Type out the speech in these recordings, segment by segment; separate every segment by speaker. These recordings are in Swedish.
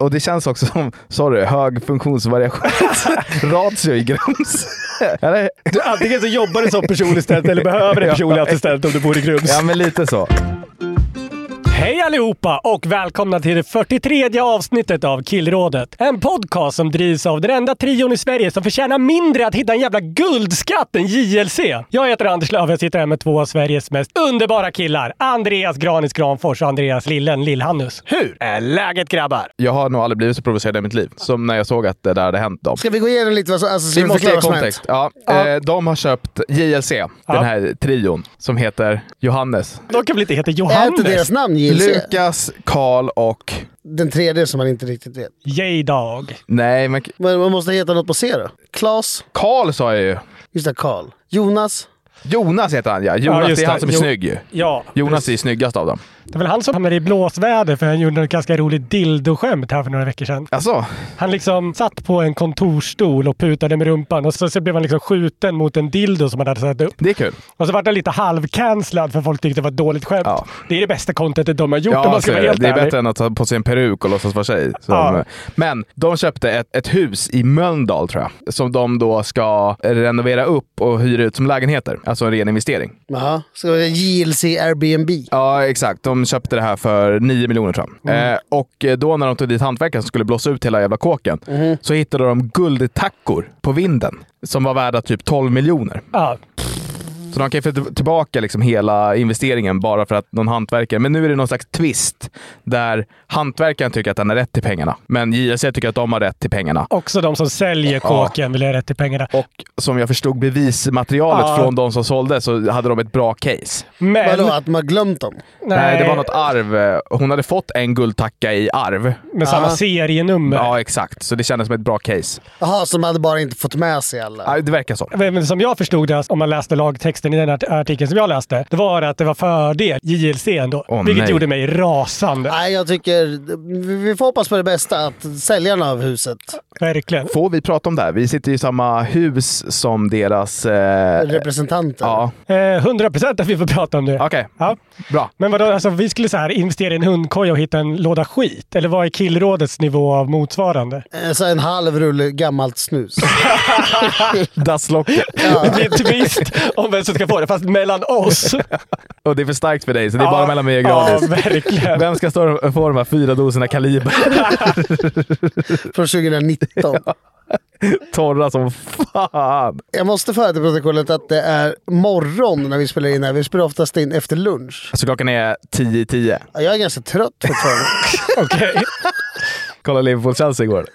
Speaker 1: Och det känns också som, sorry, hög funktionsvariation. Ratio i grums. Eller?
Speaker 2: Du, antingen så jobbar du som personlig assistent eller behöver en personlig assistent om du bor i Grums.
Speaker 1: Ja, men lite så.
Speaker 2: Hej allihopa och välkomna till det 43 avsnittet av Killrådet. En podcast som drivs av den enda trion i Sverige som förtjänar mindre att hitta en jävla guldskatt än JLC. Jag heter Anders Löf och jag sitter här med två av Sveriges mest underbara killar. Andreas Granis Granfors och Andreas Lillen Lillhannus. Hur är läget grabbar?
Speaker 1: Jag har nog aldrig blivit så provocerad i mitt liv som när jag såg att det där hade hänt dem.
Speaker 3: Ska vi gå igenom lite vad som, alltså, ska
Speaker 1: Vi
Speaker 3: vi
Speaker 1: måste
Speaker 3: förklara
Speaker 1: ge
Speaker 3: vad som
Speaker 1: kontext.
Speaker 3: hänt?
Speaker 1: Ja, eh, de har köpt JLC, den här trion, som heter Johannes.
Speaker 2: De kan väl inte heta
Speaker 3: Är inte
Speaker 2: Johannes?
Speaker 3: deras namn JLC?
Speaker 1: Lukas, Karl och...
Speaker 3: Den tredje som man inte riktigt vet.
Speaker 2: Yay dag.
Speaker 1: Nej, men
Speaker 3: Men man måste heta något på C då. Klas.
Speaker 1: Karl sa jag ju.
Speaker 3: Just det, Karl. Jonas.
Speaker 1: Jonas heter han ja. Jonas,
Speaker 2: just
Speaker 1: det är han
Speaker 2: det.
Speaker 1: som är
Speaker 2: Jo-
Speaker 1: snygg ju.
Speaker 2: Ja,
Speaker 1: Jonas är snyggast av dem.
Speaker 2: det är väl han som hamnade i blåsväder för han gjorde ett ganska roligt dildoskämt här för några veckor sedan.
Speaker 1: Alltså,
Speaker 2: Han liksom satt på en kontorsstol och putade med rumpan och så, så blev han liksom skjuten mot en dildo som han hade satt upp.
Speaker 1: det är kul.
Speaker 2: Och så vart han lite halvcancellad för folk tyckte det var ett dåligt skämt.
Speaker 1: Ja.
Speaker 2: Det är det bästa contentet de har gjort om
Speaker 1: Ja,
Speaker 2: man ska
Speaker 1: så
Speaker 2: vara
Speaker 1: är det.
Speaker 2: helt
Speaker 1: det är
Speaker 2: ärlig.
Speaker 1: bättre än att ta på sig en peruk och låtsas vara tjej. Som,
Speaker 2: Ja.
Speaker 1: Men de köpte ett, ett hus i Mölndal tror jag, som de då ska renovera upp och hyra ut som lägenheter. Alltså en ren investering.
Speaker 3: Jaha. Ska vi JLC Airbnb?
Speaker 1: Ja, exakt. De köpte det här för 9 miljoner tror jag.
Speaker 2: Mm.
Speaker 1: Eh, och då när de tog dit hantverkaren som skulle blåsa ut hela jävla kåken
Speaker 2: Mm.
Speaker 1: så hittade de guldtackor på vinden som var värda typ 12 miljoner.
Speaker 2: Ja.
Speaker 1: Så de kan ju få t- tillbaka liksom hela investeringen bara för att någon hantverkare... Men nu är det någon slags twist där hantverkaren tycker att han har rätt till pengarna. Men JLC tycker att de har rätt till pengarna.
Speaker 2: Också de som säljer kåken vill ha rätt till pengarna.
Speaker 1: Och som jag förstod bevismaterialet
Speaker 2: Ja.
Speaker 1: från de som sålde så hade de ett bra case.
Speaker 2: Men...
Speaker 3: Vadå, att man har glömt dem?
Speaker 1: Nej. det var något arv. Hon hade fått en guldtacka i arv.
Speaker 2: Med samma
Speaker 3: Ja.
Speaker 2: serienummer.
Speaker 1: Ja, exakt. Så det kändes som ett bra case.
Speaker 3: Jaha, som hade bara inte fått med sig alla.
Speaker 1: Ja, det verkar så.
Speaker 2: Men som jag förstod det, om man läste lagtexten i den art- artikeln som jag läste, det var att det var fördel JLC ändå.
Speaker 1: Åh,
Speaker 2: vilket
Speaker 1: nej.
Speaker 2: gjorde mig rasande.
Speaker 3: Nej, jag tycker... vi- Vi får hoppas på det bästa. Att säljarna av huset,
Speaker 2: Verkligen.
Speaker 1: Får vi prata om det här? Vi sitter ju i samma hus som deras... Eh,
Speaker 3: representanter.
Speaker 1: ja,
Speaker 2: Eh, 100% att vi får prata om det.
Speaker 1: okej.
Speaker 2: Ja.
Speaker 1: Bra.
Speaker 2: Men vadå, alltså, vi skulle så här investera i en hundkoja och hitta en låda skit? Eller vad är killrådets nivå av motsvarande?
Speaker 3: Eh, Så en halv rulle gammalt snus.
Speaker 1: Dasslocket.
Speaker 2: Det blir en twist om vem som ska få det, fast mellan oss.
Speaker 1: Och det är för starkt för dig, så det är bara
Speaker 2: Ja,
Speaker 1: mellan mig och Granis.
Speaker 2: Ja, verkligen.
Speaker 1: Vem ska stå, få de här fyra doserna kaliber?
Speaker 3: från 2019.
Speaker 1: Torra som fan!
Speaker 3: Jag måste föra till protokollet att det är morgon när vi spelar in här. Vi spelar oftast in efter lunch.
Speaker 1: Alltså klockan är 10 i 10.
Speaker 3: Ja, Jag är ganska trött fortfarande.
Speaker 2: Okej.
Speaker 1: Kolla Liverpool-Chelsea igår.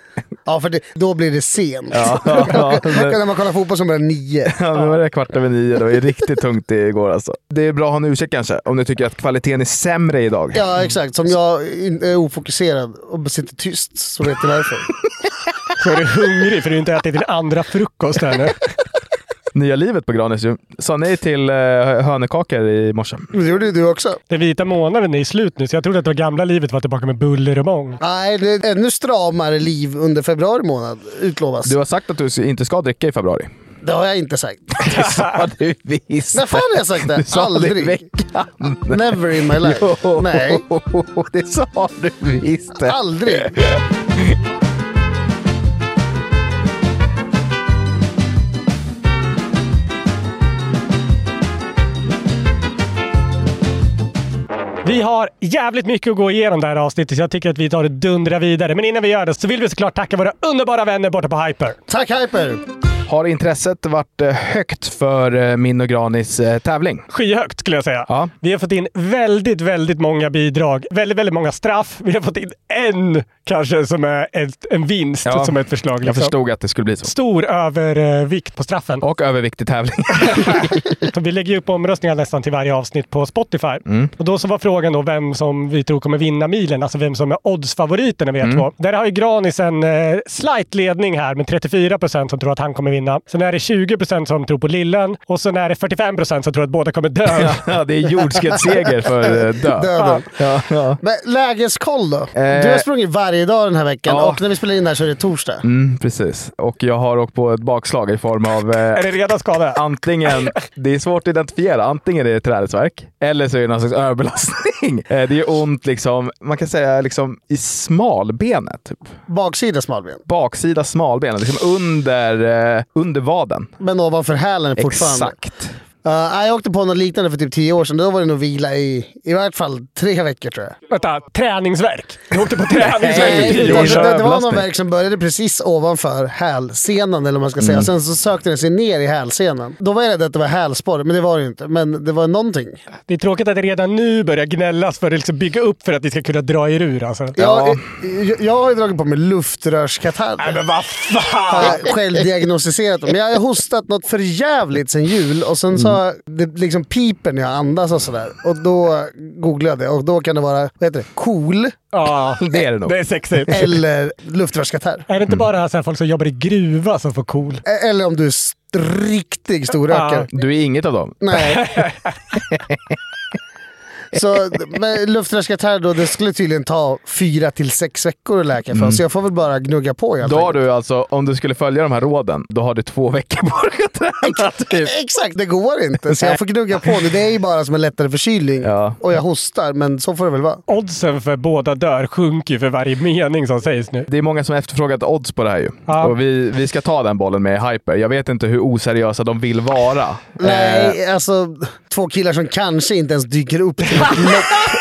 Speaker 3: Ja, för det, då blir det sent.
Speaker 1: Ja, ja,
Speaker 3: Kan
Speaker 1: men-
Speaker 3: när man kollar fotboll som börjar nio.
Speaker 1: ja, men var det kvart över nio? Det var ju riktigt tungt igår alltså. Det är bra att ha en ursäkt kanske, om du tycker att kvaliteten är sämre idag.
Speaker 3: Ja, exakt. Som jag in- är ofokuserad och sitter tyst så vet ni varför.
Speaker 2: Så är du hungrig för du har inte ätit din andra frukost ännu.
Speaker 1: Nya livet på Granis ju. Sa nej till eh, hönökakor i morse.
Speaker 3: Men Det gjorde ju du också.
Speaker 2: Den vita månaden är i slut nu, så jag trodde att det gamla livet var tillbaka med buller och bång.
Speaker 3: Nej, det är ett ännu stramare liv under februari månad utlovas.
Speaker 1: Du har sagt att du inte ska dricka i februari.
Speaker 3: Det har jag inte sagt.
Speaker 1: Det sa du visst!
Speaker 3: När fan har jag sagt
Speaker 1: Du
Speaker 3: det?
Speaker 1: sa det i
Speaker 3: Aldrig.
Speaker 1: veckan!
Speaker 3: Never in my life.
Speaker 1: Jo,
Speaker 3: Nej,
Speaker 1: det sa du visst!
Speaker 3: aldrig.
Speaker 2: Vi har jävligt mycket att gå igenom det här avsnittet så jag tycker att vi tar och dundrar vidare. Men innan vi gör det så vill vi såklart tacka våra underbara vänner borta på Hyper.
Speaker 3: Tack Hyper!
Speaker 1: Har intresset varit eh, högt för eh, min och Granis eh, tävling?
Speaker 2: Skyhögt skulle jag säga.
Speaker 1: Ja.
Speaker 2: Vi har fått in väldigt, väldigt många bidrag. Väldigt, väldigt många straff. Vi har fått in en kanske som är ett, en vinst
Speaker 1: Ja.
Speaker 2: som ett förslag.
Speaker 1: Jag
Speaker 2: liksom.
Speaker 1: förstod att det skulle bli så.
Speaker 2: Stor övervikt på straffen.
Speaker 1: Och överviktig tävling.
Speaker 2: Så Vi lägger ju upp omröstningar nästan till varje avsnitt på Spotify.
Speaker 1: Mm.
Speaker 2: Och då så var frågan då vem som vi tror kommer vinna milen, alltså vem som är oddsfavoriten av er
Speaker 1: Mm.
Speaker 2: två. Där har ju Granis en eh, slight ledning här med 34 procent som tror att han kommer vinna. Sen är det 20 procent som tror på Lillen och sen är det 45 procent som tror att båda kommer dö.
Speaker 1: ja, det är jordskredsseger för eh, dö.
Speaker 3: Döden.
Speaker 1: Ja, ja.
Speaker 3: Men lägeskoll då?
Speaker 1: Eh.
Speaker 3: Du har sprungit varje dag den här veckan
Speaker 1: Ja.
Speaker 3: och när vi spelar in det här så är det torsdag.
Speaker 1: Mm, precis. Och jag har åkt på ett bakslag i form av eh,
Speaker 2: är det redan skada?
Speaker 1: Antingen, det är svårt att identifiera, antingen är det ett trädesvärk eller så är det någon slags överbelastning. Eh, Det är ont liksom, man kan säga liksom i smalbenet. Typ.
Speaker 3: Baksida smalben.
Speaker 1: Baksida smalbenet, liksom under, eh, under vaden.
Speaker 3: Men ovanför hälen fortfarande.
Speaker 1: Exakt.
Speaker 3: Ja, nej, jag åkte på något liknande för typ tio år sedan. Då var det nog vila i i vart fall tre veckor tror jag.
Speaker 2: Vänta, träningsverk. Du åkte på träningsverk
Speaker 1: Nej,
Speaker 2: i
Speaker 3: Nej,
Speaker 2: tio
Speaker 3: utan
Speaker 2: år
Speaker 1: års
Speaker 3: det, det, det var någon
Speaker 1: överlastning.
Speaker 3: verk som började precis ovanför hälsenan eller vad man ska
Speaker 1: Mm.
Speaker 3: säga. Sen så sökte den sig ner i hälsenan. Då var jag rädd att det var hälsporre, men det var det ju inte. Men det var någonting.
Speaker 2: Det är tråkigt att det redan nu börjar gnällas för att liksom bygga upp för att ni ska kunna dra er ur alltså.
Speaker 3: Jag, jag, jag har ju dragit på mig luftrörskatarr.
Speaker 2: Men vad fan!
Speaker 3: Har jag Självdiagnostiserat dem. Men jag har hostat något för jävligt sen jul och sen
Speaker 1: Mm.
Speaker 3: så har det liksom piper när jag andas och sådär. Och då googlade jag det och då kan det vara, vad heter det, KOL
Speaker 2: Ja,
Speaker 1: Det är det nog. Eh. Mm.
Speaker 2: det är sexigt.
Speaker 3: eller luftrörskatarr.
Speaker 2: Är det inte bara så här folk som jobbar i gruva som får KOL?
Speaker 3: E- Eller om du är st- riktig storrökare.
Speaker 1: Du är inget av dem.
Speaker 3: Nej. Så men luftrörskatarr då, det skulle tydligen ta fyra till sex veckor att läka ifrån. Så jag får väl bara gnugga på helt
Speaker 1: Mm. Då har
Speaker 3: enkelt.
Speaker 1: du alltså, om du skulle följa de här råden, då har du två veckor på dig att träna. Typ.
Speaker 3: Exakt, det går inte. Så jag får gnugga på nu. Det är ju bara som en lättare förkylning
Speaker 1: Ja.
Speaker 3: och jag hostar, men så får det väl vara.
Speaker 2: Oddsen för båda dör sjunker ju för varje mening som sägs nu.
Speaker 1: Det är många som har efterfrågat odds på det här ju.
Speaker 2: Ja.
Speaker 1: Och vi, vi ska ta den bollen med Hyper. Jag vet inte hur oseriösa de vill vara. Eh,
Speaker 3: Nej, alltså två killar som kanske inte ens dyker upp till ett lopp.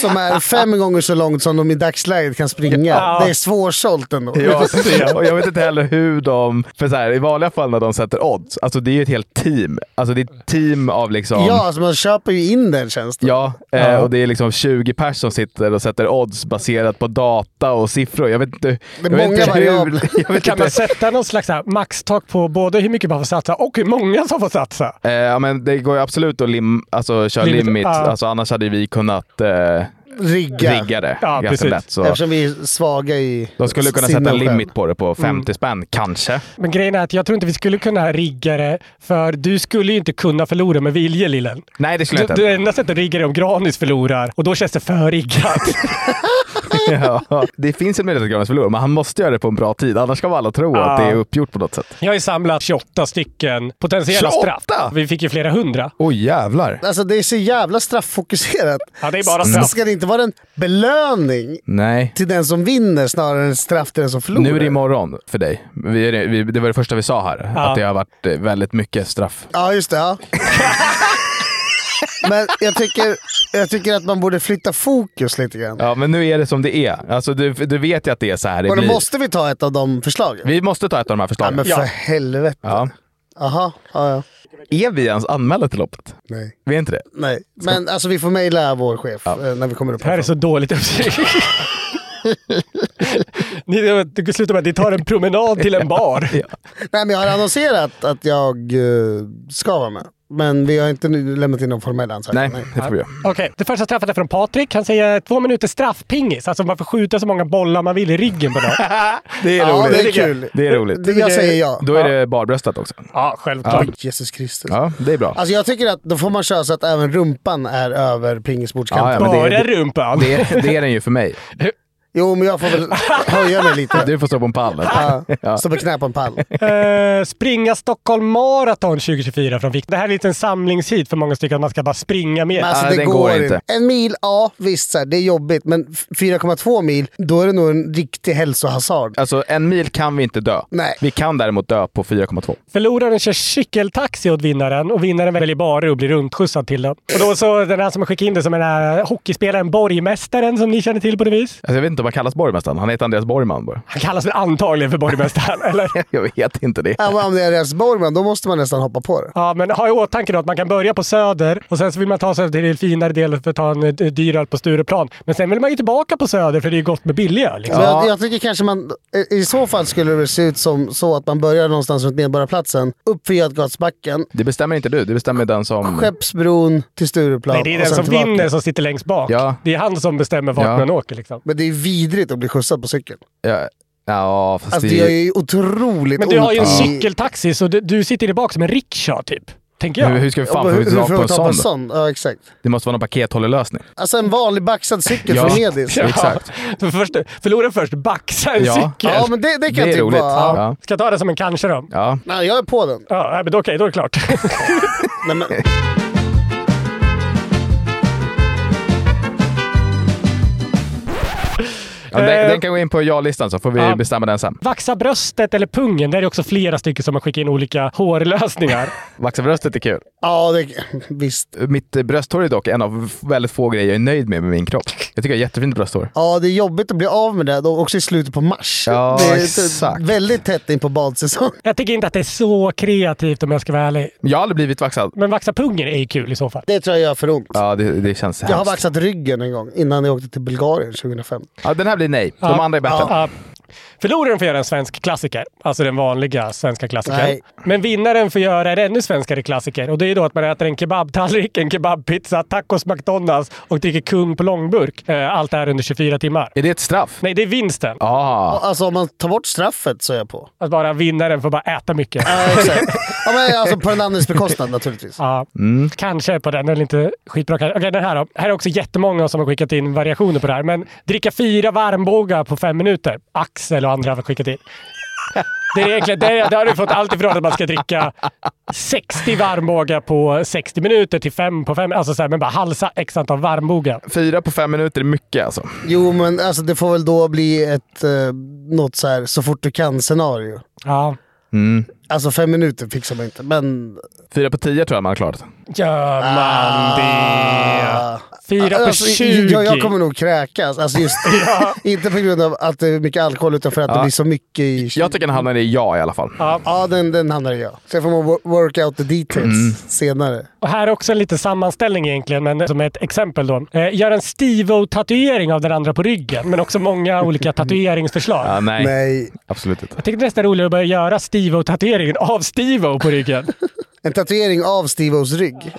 Speaker 3: Som är fem gånger så långt som de i dagsläget kan springa.
Speaker 2: Ja.
Speaker 3: Det är svårsålt ändå.
Speaker 1: Ja, och jag vet inte heller hur de... För så här, I vanliga fall när de sätter odds, alltså det är ju ett helt team. Alltså det är ett team av liksom...
Speaker 3: Ja, alltså man köper ju in den tjänsten.
Speaker 1: Ja, eh, och det är liksom 20 pers som sitter och sätter odds baserat på data och siffror. Jag vet inte, jag vet
Speaker 3: många
Speaker 1: inte
Speaker 3: variabler.
Speaker 1: hur... Jag vet
Speaker 2: Kan man
Speaker 1: inte,
Speaker 2: Typ sätta någon slags så här maxtak på både hur mycket man får satsa och hur många som får satsa?
Speaker 1: eh, ja, men det går ju absolut att lim, alltså, köra
Speaker 2: Limit,
Speaker 1: limit.
Speaker 2: ja.
Speaker 1: Alltså, annars hade vi kunnat eh,
Speaker 3: Rigga.
Speaker 1: rigga det
Speaker 2: Ja,
Speaker 1: ganska
Speaker 2: precis.
Speaker 1: lätt. Så.
Speaker 3: Eftersom vi är svaga i
Speaker 1: De skulle kunna
Speaker 3: sinnen
Speaker 1: sätta
Speaker 3: och själ.
Speaker 1: limit på det
Speaker 2: Mm.
Speaker 1: på 50 spänn, kanske.
Speaker 2: Men grejen är att jag tror inte vi skulle kunna rigga det, för du skulle ju inte kunna förlora med vilje Lillen.
Speaker 1: Nej, det skulle
Speaker 2: Du,
Speaker 1: jag inte.
Speaker 2: du enda sättet att rigga det är om Granis förlorar och då känns det för riggat.
Speaker 1: Ja, det finns en möjlighet att Granis förlorar, men han måste göra det på en bra tid. Annars kommer alla tro
Speaker 2: Ah.
Speaker 1: att det är uppgjort på något sätt.
Speaker 2: Jag har ju samlat 28 stycken potentiella
Speaker 1: 28?
Speaker 2: straff. Vi fick ju flera hundra.
Speaker 1: Oj oh, jävlar.
Speaker 3: Alltså det är så jävla strafffokuserat.
Speaker 2: Ja, det är bara
Speaker 3: S-
Speaker 2: straff.
Speaker 3: Ska det inte vara en belöning
Speaker 1: Nej.
Speaker 3: till den som vinner snarare än straff till den som förlorar?
Speaker 1: Nu är det imorgon för dig. Vi är, vi, det var det första vi sa här,
Speaker 2: Ja.
Speaker 1: att det har varit eh, väldigt mycket straff.
Speaker 3: Ja, just det. Ja. Men jag tycker, jag tycker att man borde flytta fokus lite grann.
Speaker 1: Ja, men nu är det som det är. Alltså, du, du vet ju att det är så här det
Speaker 3: Och då
Speaker 1: blir.
Speaker 3: måste vi ta ett av de förslagen.
Speaker 1: Vi måste ta ett av de här
Speaker 3: Ja, men
Speaker 1: förslagen.
Speaker 3: för helvete.
Speaker 1: Ja.
Speaker 3: Jaha, ja, ja.
Speaker 1: Är vi ens anmälda till loppet?
Speaker 3: Nej.
Speaker 1: Vi är inte det.
Speaker 3: Nej. Men alltså vi får mejla vår chef eh, när vi kommer upp
Speaker 2: Det här är så dåligt uppstyrt. ni, du sluta med att ni tar en promenad till en bar.
Speaker 3: Nej, men jag har annonserat att jag eh, ska vara med. Men vi har inte nu lämnat in någon formell ansökan.
Speaker 1: Nej, det får vi göra.
Speaker 2: Okej, det första straffet är från Patrik. Han säger två minuter straffpingis. Alltså man får skjuta så många bollar man vill i ryggen på dem.
Speaker 1: Det är
Speaker 3: Ja,
Speaker 1: roligt.
Speaker 3: det är kul.
Speaker 1: Det är roligt.
Speaker 3: Det- Jag säger ja.
Speaker 1: Då är det barbröstat också.
Speaker 2: ja, självklart.
Speaker 3: Jesus Kristus.
Speaker 1: Ja, det är bra.
Speaker 3: Alltså jag tycker att då får man köra så att även rumpan är över pingisbordskanten.
Speaker 1: Ja, ja, men det-
Speaker 2: Bara rumpan.
Speaker 1: Det är, det är den ju för mig.
Speaker 3: Jo, men jag får väl höja mig lite.
Speaker 1: Du får stå på en pall.
Speaker 3: Ja.
Speaker 1: Ja.
Speaker 3: Stå på knä på en pall.
Speaker 2: Eh, springa Stockholm Marathon 2024 från Vikt. Det här är en liten samlingshit för många stycken att man ska bara springa med.
Speaker 3: Men alltså,
Speaker 1: Nej,
Speaker 3: det
Speaker 1: den
Speaker 3: går,
Speaker 1: går
Speaker 3: inte. En mil, ja visst, så här, det är jobbigt. Men f- 4,2 mil, då är det nog en riktig hälsohazard.
Speaker 1: Alltså en mil kan vi inte dö.
Speaker 3: Nej.
Speaker 1: Vi kan däremot dö på 4,2.
Speaker 2: Förloraren kör cykeltaxi åt vinnaren och vinnaren väljer barer och blir runtskjutsad till den. Och då så den här som skickade in det som den här hockeyspelaren Borgmästaren som ni känner till på det vis.
Speaker 1: Alltså, jag vet inte om han kallas borgmästaren. Han heter Andreas Borgman bara.
Speaker 2: Han kallas väl antagligen för Borgmästaren, eller?
Speaker 1: Jag vet inte det.
Speaker 3: Ja, men om det är Andreas Borgman, då måste man nästan hoppa på det.
Speaker 2: Ja, men ha i åtanke då att man kan börja på Söder och sen så vill man ta sig till den finare delen för att ta en eh, dyr öl på Stureplan. Men sen vill man ju tillbaka på Söder för det är ju gott med billig öl. Liksom.
Speaker 3: Men Jag, jag tycker kanske man... i- I så fall skulle det väl se ut som så att man börjar någonstans runt Medborgarplatsen, upp för Götgatsbacken,
Speaker 1: Det bestämmer inte du. Det bestämmer den som...
Speaker 3: Skeppsbron till Stureplan
Speaker 2: Nej, det är
Speaker 3: och
Speaker 2: den
Speaker 3: sen
Speaker 2: som
Speaker 3: tillbaka.
Speaker 2: vinner som sitter längst bak.
Speaker 1: Ja.
Speaker 2: Det är han som bestämmer vart
Speaker 1: Ja.
Speaker 2: man åker. Liksom.
Speaker 3: Men det är vidrigt att bli skjutsad på cykeln.
Speaker 1: Ja, ja fast
Speaker 3: Alltså det
Speaker 1: det...
Speaker 3: gör ju otroligt
Speaker 2: Men du har ju en
Speaker 3: ont i-
Speaker 2: cykeltaxi så du, du sitter ju bak som en riksha typ. Tänker jag.
Speaker 1: Hur, hur ska vi
Speaker 3: Ja,
Speaker 1: fan
Speaker 3: men
Speaker 1: få
Speaker 3: hur, hur
Speaker 1: tag
Speaker 3: får
Speaker 1: på
Speaker 3: man
Speaker 1: en
Speaker 3: ta på
Speaker 1: sån?
Speaker 3: en
Speaker 1: då?
Speaker 3: sån? Ja, exakt.
Speaker 1: Det måste vara någon pakethållelösning.
Speaker 3: Alltså en vanlig baxad cykel
Speaker 1: Ja.
Speaker 3: för medis.
Speaker 2: Ja.
Speaker 1: Exakt.
Speaker 2: Så först, förlora först, baxa en
Speaker 1: Ja.
Speaker 2: cykel.
Speaker 3: Ja, men det, det kan
Speaker 1: Det
Speaker 3: jag
Speaker 1: är
Speaker 3: tycka
Speaker 1: roligt.
Speaker 3: vara... Ja.
Speaker 1: Ja.
Speaker 2: Ska jag ta det som en kanske då?
Speaker 1: Ja.
Speaker 3: Nej, jag är på den.
Speaker 2: Ja, nej, men då- okej, då är det klart.
Speaker 3: Nej, men,
Speaker 1: Ja, den,
Speaker 2: Eh.
Speaker 1: den kan gå in på ja-listan så får vi
Speaker 2: Ja.
Speaker 1: bestämma den sen.
Speaker 2: Vaxa bröstet eller pungen. Där är det också flera stycken som har skickat in olika hårlösningar.
Speaker 1: Vaxa bröstet är kul.
Speaker 3: ja, det, visst.
Speaker 1: Mitt eh, brösthår är dock en av f- väldigt få grejer jag är nöjd med med min kropp. Jag tycker jag har jättefint brösthår.
Speaker 3: Ja, det är jobbigt att bli av med det. då Också i slutet på mars.
Speaker 1: Ja,
Speaker 3: det är typ
Speaker 1: exakt.
Speaker 3: väldigt tätt in på badsäsong.
Speaker 2: Jag tycker inte att det är så kreativt om jag ska vara ärlig.
Speaker 1: Men Jag har aldrig blivit vaxad.
Speaker 2: Men vaxa pungen är ju kul i så fall.
Speaker 3: Det tror jag gör för ont.
Speaker 1: Ja, det, det känns
Speaker 3: Jag har
Speaker 1: hemskt.
Speaker 3: vaxat ryggen en gång innan jag åkte till Bulgarien 2005.
Speaker 1: Ja, den här blir nej. De
Speaker 2: Ja.
Speaker 1: andra är bättre.
Speaker 2: Ja. Förloraren får göra en svensk klassiker, alltså den vanliga svenska klassikern.
Speaker 3: Nej.
Speaker 2: Men vinnaren får göra en ännu svenskare klassiker och det är då att man äter en kebabtallrik, en kebabpizza, tacos McDonalds och dricker kung på långburk. Eh, Allt det här under 24 timmar.
Speaker 1: Är det ett straff?
Speaker 2: Nej, det är vinsten.
Speaker 1: Ah.
Speaker 3: Alltså om man tar bort straffet så är jag på.
Speaker 2: Att bara vinnaren får bara äta mycket.
Speaker 3: Ja, exakt. ja, men alltså på den andres bekostnad naturligtvis.
Speaker 2: Ja,
Speaker 3: Mm.
Speaker 2: kanske på den. Den är inte skitbra kanske. Okej, den här då. Här är också jättemånga som har skickat in variationer på det här. Men dricka fyra varmbågar på fem minuter. Axel och andra har skickat in. Det är egentligen, det, det har du fått allt ifrån att man ska dricka 60 varmbågar på 60 minuter till 5 på 5. Alltså så här, men bara halsa x antal varmbågar.
Speaker 1: Fyra på fem minuter är mycket alltså.
Speaker 3: Jo, men alltså, det får väl då bli ett, eh, något så här så fort du kan-scenario.
Speaker 2: Ja.
Speaker 3: Alltså fem minuter fixar man inte, men...
Speaker 1: Fyra på tio tror jag man har klarat.
Speaker 2: Gör man det?
Speaker 3: Ah.
Speaker 2: Fyra på
Speaker 3: Alltså,
Speaker 2: 20.
Speaker 3: jag, jag kommer nog kräkas. Alltså just, Inte på grund av att det är mycket alkohol, utan för att det blir så mycket i...
Speaker 1: Jag tycker den hamnar i ja i alla fall.
Speaker 3: Ja, den, den hamnar i jag. Sen får man wo- work out the details
Speaker 1: Mm.
Speaker 3: senare.
Speaker 2: Och här är också en liten sammanställning egentligen, men som ett exempel då. Eh, gör en Steve-O-tatuering av den andra på ryggen, men också många olika tatueringsförslag.
Speaker 1: Ja, nej.
Speaker 3: Nej.
Speaker 1: absolut inte.
Speaker 2: Jag tyckte nästan roligare att börja göra Steve-O-tatueringen av Steve-O på ryggen.
Speaker 3: En tatuering av Steve-Os rygg.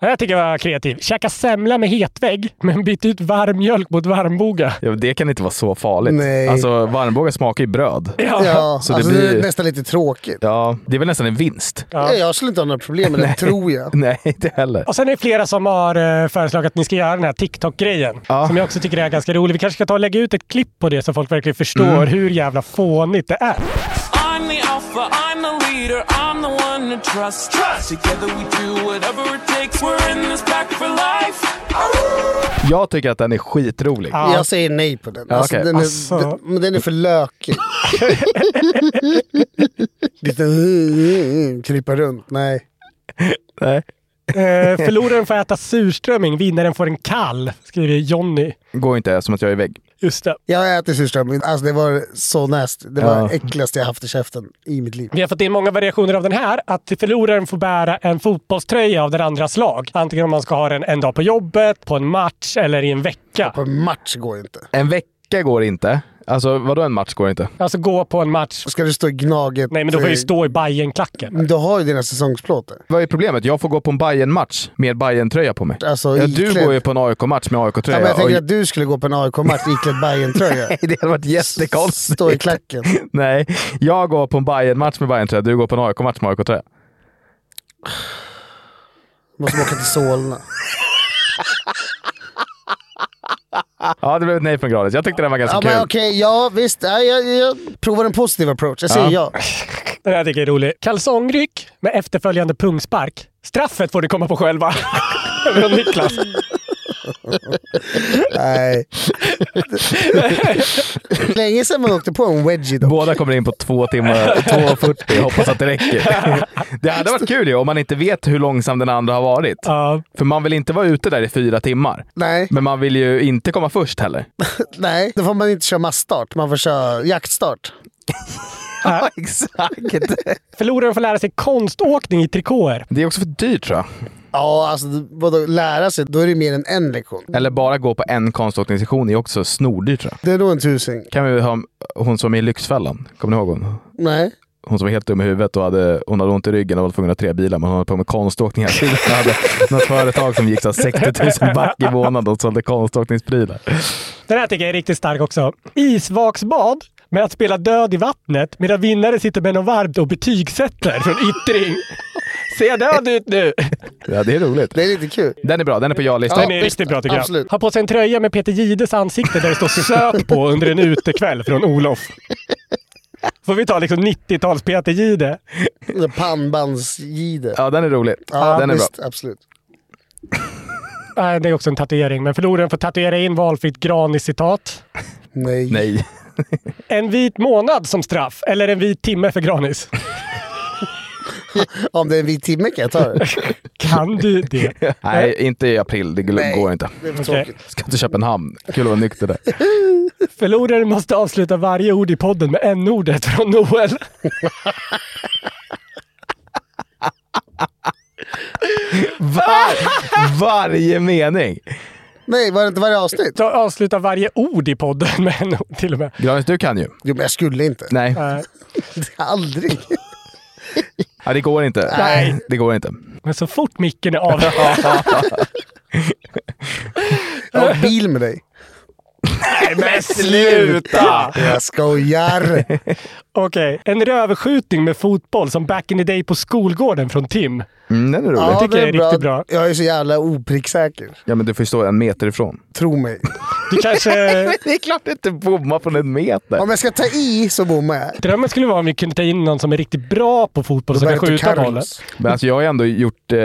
Speaker 2: Det här tycker jag var kreativ. Käka semla med hetvägg, men byt ut varm mjölk mot varmboga.
Speaker 1: Ja, det kan inte vara så farligt.
Speaker 3: Nej.
Speaker 1: Alltså, varmbågar smakar ju bröd.
Speaker 2: Ja.
Speaker 3: Ja,
Speaker 1: Så det
Speaker 3: alltså, det,
Speaker 1: blir-
Speaker 3: är nästan lite tråkigt.
Speaker 1: Ja, det är väl nästan en vinst.
Speaker 2: Ja.
Speaker 3: Jag skulle inte ha några problem med det, tror jag.
Speaker 1: Nej, inte heller.
Speaker 2: Och sen är det flera som har eh, föreslagit att ni ska göra den här TikTok-grejen.
Speaker 1: Ja.
Speaker 2: Som jag också tycker är ganska rolig. Vi kanske ska ta och lägga ut ett klipp på det så folk verkligen förstår
Speaker 1: Mm.
Speaker 2: hur jävla fånigt det är.
Speaker 4: I'm the alpha, I'm the leader, I'm the one to trust. Trust! Together we do whatever it takes, we're in this pack for life.
Speaker 1: Jag tycker att den är skitrolig.
Speaker 2: Ja.
Speaker 3: Jag säger nej på den.
Speaker 1: Ja,
Speaker 3: Alltså,
Speaker 1: okej.
Speaker 3: den, är,
Speaker 2: Alltså.
Speaker 3: den, men den är för lökig. lite krypa runt. Nej.
Speaker 1: Nej.
Speaker 2: Eh, förloraren får äta surströmming, vinnaren får en kall, skriver Jonny.
Speaker 1: Går inte, som att jag är vägg.
Speaker 2: Just det.
Speaker 3: Jag har ätit surströmming. Alltså, det var så nasty. Det var
Speaker 1: Ja.
Speaker 3: det äckligaste jag haft i käften i mitt liv.
Speaker 2: Vi har fått in många variationer av den här. Att förloraren får bära en fotbollströja av den andras lag. Antingen om man ska ha den en dag på jobbet, på en match eller i en vecka.
Speaker 3: På en match går ju inte.
Speaker 1: En vecka går inte. Alltså, vadå en match går inte?
Speaker 2: Alltså gå på en match.
Speaker 3: Ska du stå i gnaget?
Speaker 2: Nej, men då får jag ju stå i Bajenklacken.
Speaker 3: Du har ju dina säsongsplåtar.
Speaker 1: Vad är problemet? Jag får gå på en bayern match med bayern tröja på mig.
Speaker 3: Alltså,
Speaker 1: ja, du
Speaker 3: iklädd.
Speaker 1: går ju på en AIK-match med
Speaker 3: Ja,
Speaker 1: AIK-tröja.
Speaker 3: men jag tänker
Speaker 1: och-
Speaker 3: att du skulle gå på en AIK-match iklädd Bajen-tröja.
Speaker 1: Det hade varit jättekonstigt.
Speaker 3: Stå i klacken.
Speaker 1: Nej, jag går på en bayern match med bayern tröja du går på en AIK-match med AIK-tröja.
Speaker 3: Måste man åka till Solna.
Speaker 1: Ja, det blev ett nej från Granis. Jag tyckte den var ganska
Speaker 3: Ja,
Speaker 1: kul.
Speaker 3: men okej, ja visst. Ja, jag, jag provar en positiv approach. Jag säger ja.
Speaker 2: Den här tycker jag är rolig. Kalsongryck med efterföljande pungspark. Straffet får ni komma på själva. Från Niklas.
Speaker 3: Nej. Länge sedan man åkte på en wedgie dock.
Speaker 1: Båda kommer in på två timmar, 2.40. Hoppas att det räcker. Det hade varit kul ju om man inte vet hur långsam den andra har varit.
Speaker 2: Ja.
Speaker 1: För man vill inte vara ute där i fyra timmar.
Speaker 3: Nej,
Speaker 1: Men man vill ju inte komma först heller.
Speaker 3: nej. Då får man inte köra massstart. Man får köra jaktstart.
Speaker 1: Ja, exakt.
Speaker 2: Förloraren får lära sig konståkning i trikåer.
Speaker 1: Det är också för dyrt tror jag.
Speaker 3: Ja, alltså vadå, lära sig? Då är det mer än en lektion.
Speaker 1: Eller bara gå på en konståkningssession är också snordyrt tror jag.
Speaker 3: Det är nog en tusing.
Speaker 1: Kan vi ha hon som är i Lyxfällan? Kommer ni ihåg hon?
Speaker 3: Nej.
Speaker 1: Hon som var helt dum i huvudet och hade, hon hade ont i ryggen och var tvungen att ha tre bilar, men hon höll på med konståkning hela tiden. Hon hade något företag som gick så här 60 000 back i månaden och sålde konståkningsprylar.
Speaker 2: Den här tycker jag är riktigt stark också. Isvaksbad med att spela död i vattnet medan vinnare sitter med någon varmt och betygsätter från yttring. Ser jag död ut nu?
Speaker 1: Ja, det är roligt.
Speaker 3: Det är lite kul.
Speaker 1: Den är bra, den är på ja-listan.
Speaker 2: Den är riktigt bra tycker jag.
Speaker 3: absolut.
Speaker 2: Har på sig en tröja med Peter Gides ansikte där det står söt på under en utekväll från Olof. Får vi ta liksom 90-tals Peter Gide.
Speaker 3: Pannbandsgide.
Speaker 1: Ja, den är rolig. den är bra.
Speaker 3: visst, Absolut.
Speaker 2: Nej, det är också en tatuering, men förloraren får tatuera in valfritt Granis-citat.
Speaker 3: Nej.
Speaker 1: Nej.
Speaker 2: En vit månad som straff, eller en vit timme för Granis.
Speaker 3: Om det är en vit timme kan jag ta det.
Speaker 2: Kan du det?
Speaker 1: Nej, inte i april. Det gl- går inte.
Speaker 3: Det är för
Speaker 2: Okej.
Speaker 3: tråkigt.
Speaker 1: Ska till Köpenhamn. Kul att vara nykter där.
Speaker 2: Förloraren måste avsluta varje ord i podden med n-ordet från Noel.
Speaker 1: Var, varje mening!
Speaker 3: Nej, var det inte varje avsnitt?
Speaker 2: Ta- Avsluta varje ord i podden med n-ord till och med.
Speaker 1: Granis, du kan ju.
Speaker 3: Jo, men jag skulle inte.
Speaker 1: Nej,
Speaker 2: Eh,
Speaker 3: Aldrig.
Speaker 1: ja, det går inte.
Speaker 2: Nej.
Speaker 1: Det går inte.
Speaker 2: Men så fort micken är av.
Speaker 3: Jag har bil med dig.
Speaker 2: Men sluta!
Speaker 3: Jag skojar.
Speaker 2: Okej, en rövskjutning med fotboll som back in the day på skolgården från Tim.
Speaker 1: Mm, den är rolig.
Speaker 2: tycker
Speaker 3: det
Speaker 2: jag är riktigt bra.
Speaker 3: Jag är så jävla opricksäker.
Speaker 1: Ja, men du får ju stå en meter ifrån.
Speaker 3: Tro mig.
Speaker 2: Du kanske...
Speaker 1: Det är klart du inte bommar från en meter.
Speaker 3: Om jag ska ta i så bommar jag.
Speaker 2: Drömmen skulle vara om vi kunde ta in någon som är riktigt bra på fotboll som kan
Speaker 3: Roberto
Speaker 2: skjuta bollen.
Speaker 3: Carlos.
Speaker 1: Men alltså jag har ju ändå gjort eh,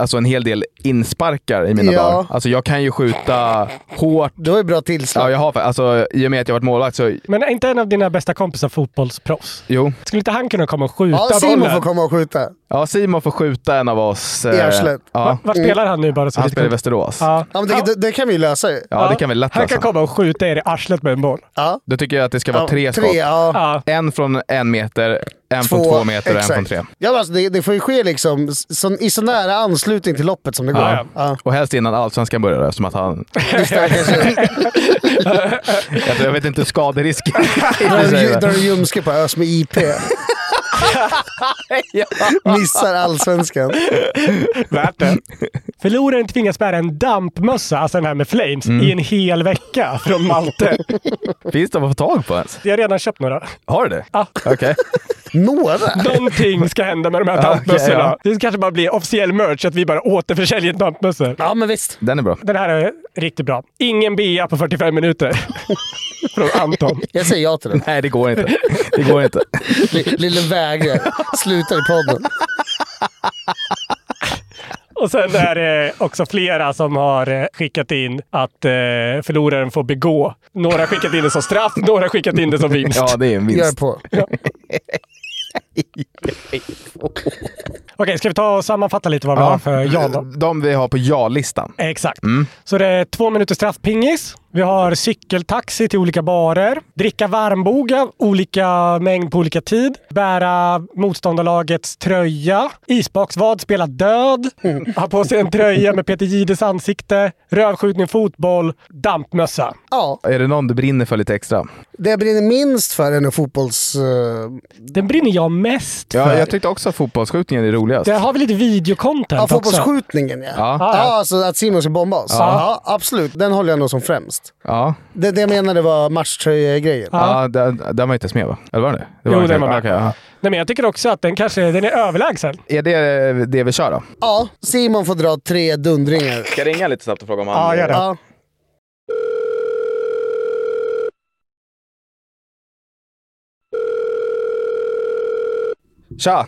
Speaker 1: alltså en hel del insparkar i mina
Speaker 3: Ja.
Speaker 1: dagar. Alltså jag kan ju skjuta hårt.
Speaker 3: Du har ju bra tillslag.
Speaker 1: Ja, jag har, alltså, I och med att jag varit målvakt så...
Speaker 2: Men är inte en av dina bästa kompisar fotbollsproffs?
Speaker 1: Jo.
Speaker 2: Skulle inte han kunna komma och skjuta
Speaker 3: Ja, Simon
Speaker 2: bollen?
Speaker 3: får komma och skjuta.
Speaker 1: Ja, Simon får skjuta en av oss. eh,
Speaker 3: I arslet.
Speaker 1: ja,
Speaker 2: Va- Vart spelar han nu bara? Så
Speaker 1: Mm. han
Speaker 2: lite
Speaker 1: spelar i
Speaker 2: kul?
Speaker 1: Västerås. Ja.
Speaker 2: Ja.
Speaker 3: Ja, men det, det, det kan vi ju lösa ju.
Speaker 1: det kan vi lätt
Speaker 2: Han kan
Speaker 1: lösa.
Speaker 2: komma och skjuta er i arslet med en boll.
Speaker 3: Ja.
Speaker 1: Då tycker jag att det ska vara
Speaker 3: Ja,
Speaker 1: tre skott.
Speaker 3: Tre, ja.
Speaker 2: Ja.
Speaker 1: En från en meter, en från två meter och en från tre.
Speaker 3: Ja, men alltså, det, det får ju ske liksom, s- så, i så nära anslutning till loppet som det går.
Speaker 2: Ja,
Speaker 3: Ja,
Speaker 1: Och helst innan allsvenskan börjar eftersom att han... jag, tror- jag vet inte hur skaderisken
Speaker 3: Drar
Speaker 1: är.
Speaker 3: en
Speaker 1: säger
Speaker 3: ju-
Speaker 1: jag.
Speaker 3: Drar en ljumske på Ös med IP. Missar allsvenskan.
Speaker 2: Värt det. Förloraren tvingas bära en dampmössa, alltså den här med flames,
Speaker 1: Mm.
Speaker 2: i en hel vecka från Malte.
Speaker 1: Finns det att få tag på ens?
Speaker 2: Jag har redan köpt några.
Speaker 1: Har du det?
Speaker 2: Ja.
Speaker 1: Okej.
Speaker 3: Några?
Speaker 2: Någonting ska hända med de här
Speaker 1: Ja, okej,
Speaker 2: dampmössorna.
Speaker 1: ja.
Speaker 2: Det kanske bara blir officiell merch, att vi bara återförsäljer dampmössor.
Speaker 3: Ja, men visst.
Speaker 1: Den är bra.
Speaker 2: Den här är riktigt bra. Ingen bea på 45 minuter. Från Anton.
Speaker 3: Jag säger ja till den.
Speaker 1: Nej, det går inte. Det går inte.
Speaker 3: L- Lille vägrar. Slutar i podden.
Speaker 2: Och sen är det också flera som har eh, skickat in att eh, förloraren får begå. Några har skickat in det som straff, några har skickat in det som vinst.
Speaker 1: Ja, det är en
Speaker 3: Gör
Speaker 1: vinst.
Speaker 3: på.
Speaker 2: Okej, ska vi ta och sammanfatta lite vad vi har
Speaker 1: Ja,
Speaker 2: för ja då?
Speaker 1: de vi har på ja-listan.
Speaker 2: Exakt.
Speaker 1: Mm.
Speaker 2: Så det är två minuter straffpingis. Vi har cykeltaxi till olika barer. Dricka varmboga, olika mängd på olika tid. Bära motståndarlagets tröja. Isbaksvad, spela död. Ha på sig en tröja med Peter Gides ansikte. Rövskjutning, fotboll, dampmössa.
Speaker 3: Ja,
Speaker 1: Är det någon du brinner för lite extra?
Speaker 3: det jag brinner minst för är nog fotbolls... eh,
Speaker 2: Den brinner jag mest
Speaker 1: Ja,
Speaker 2: för.
Speaker 1: jag tyckte också att fotbollsskjutningen är roligast.
Speaker 2: Där har vi lite videocontent
Speaker 3: Ja,
Speaker 2: också.
Speaker 3: fotbollsskjutningen ja.
Speaker 1: Ja.
Speaker 3: Ja. alltså att Simon ska bomba oss. Ja. absolut. Den håller jag nog som främst.
Speaker 1: Ja,
Speaker 3: Det, det jag menade var matchtröjegrejen.
Speaker 1: ja. den, den var inte ens med va? Eller var den det? det
Speaker 2: Jo,
Speaker 1: inte
Speaker 2: den var med.
Speaker 1: Okej, ja.
Speaker 2: Nej, men jag tycker också att den kanske den är överlägsen.
Speaker 1: Är det det vi kör då?
Speaker 3: Ja, Simon får dra tre dundringar.
Speaker 1: Ska jag ringa lite snabbt och fråga om han...
Speaker 2: Ja, gör det.
Speaker 3: Ja.
Speaker 1: Tja!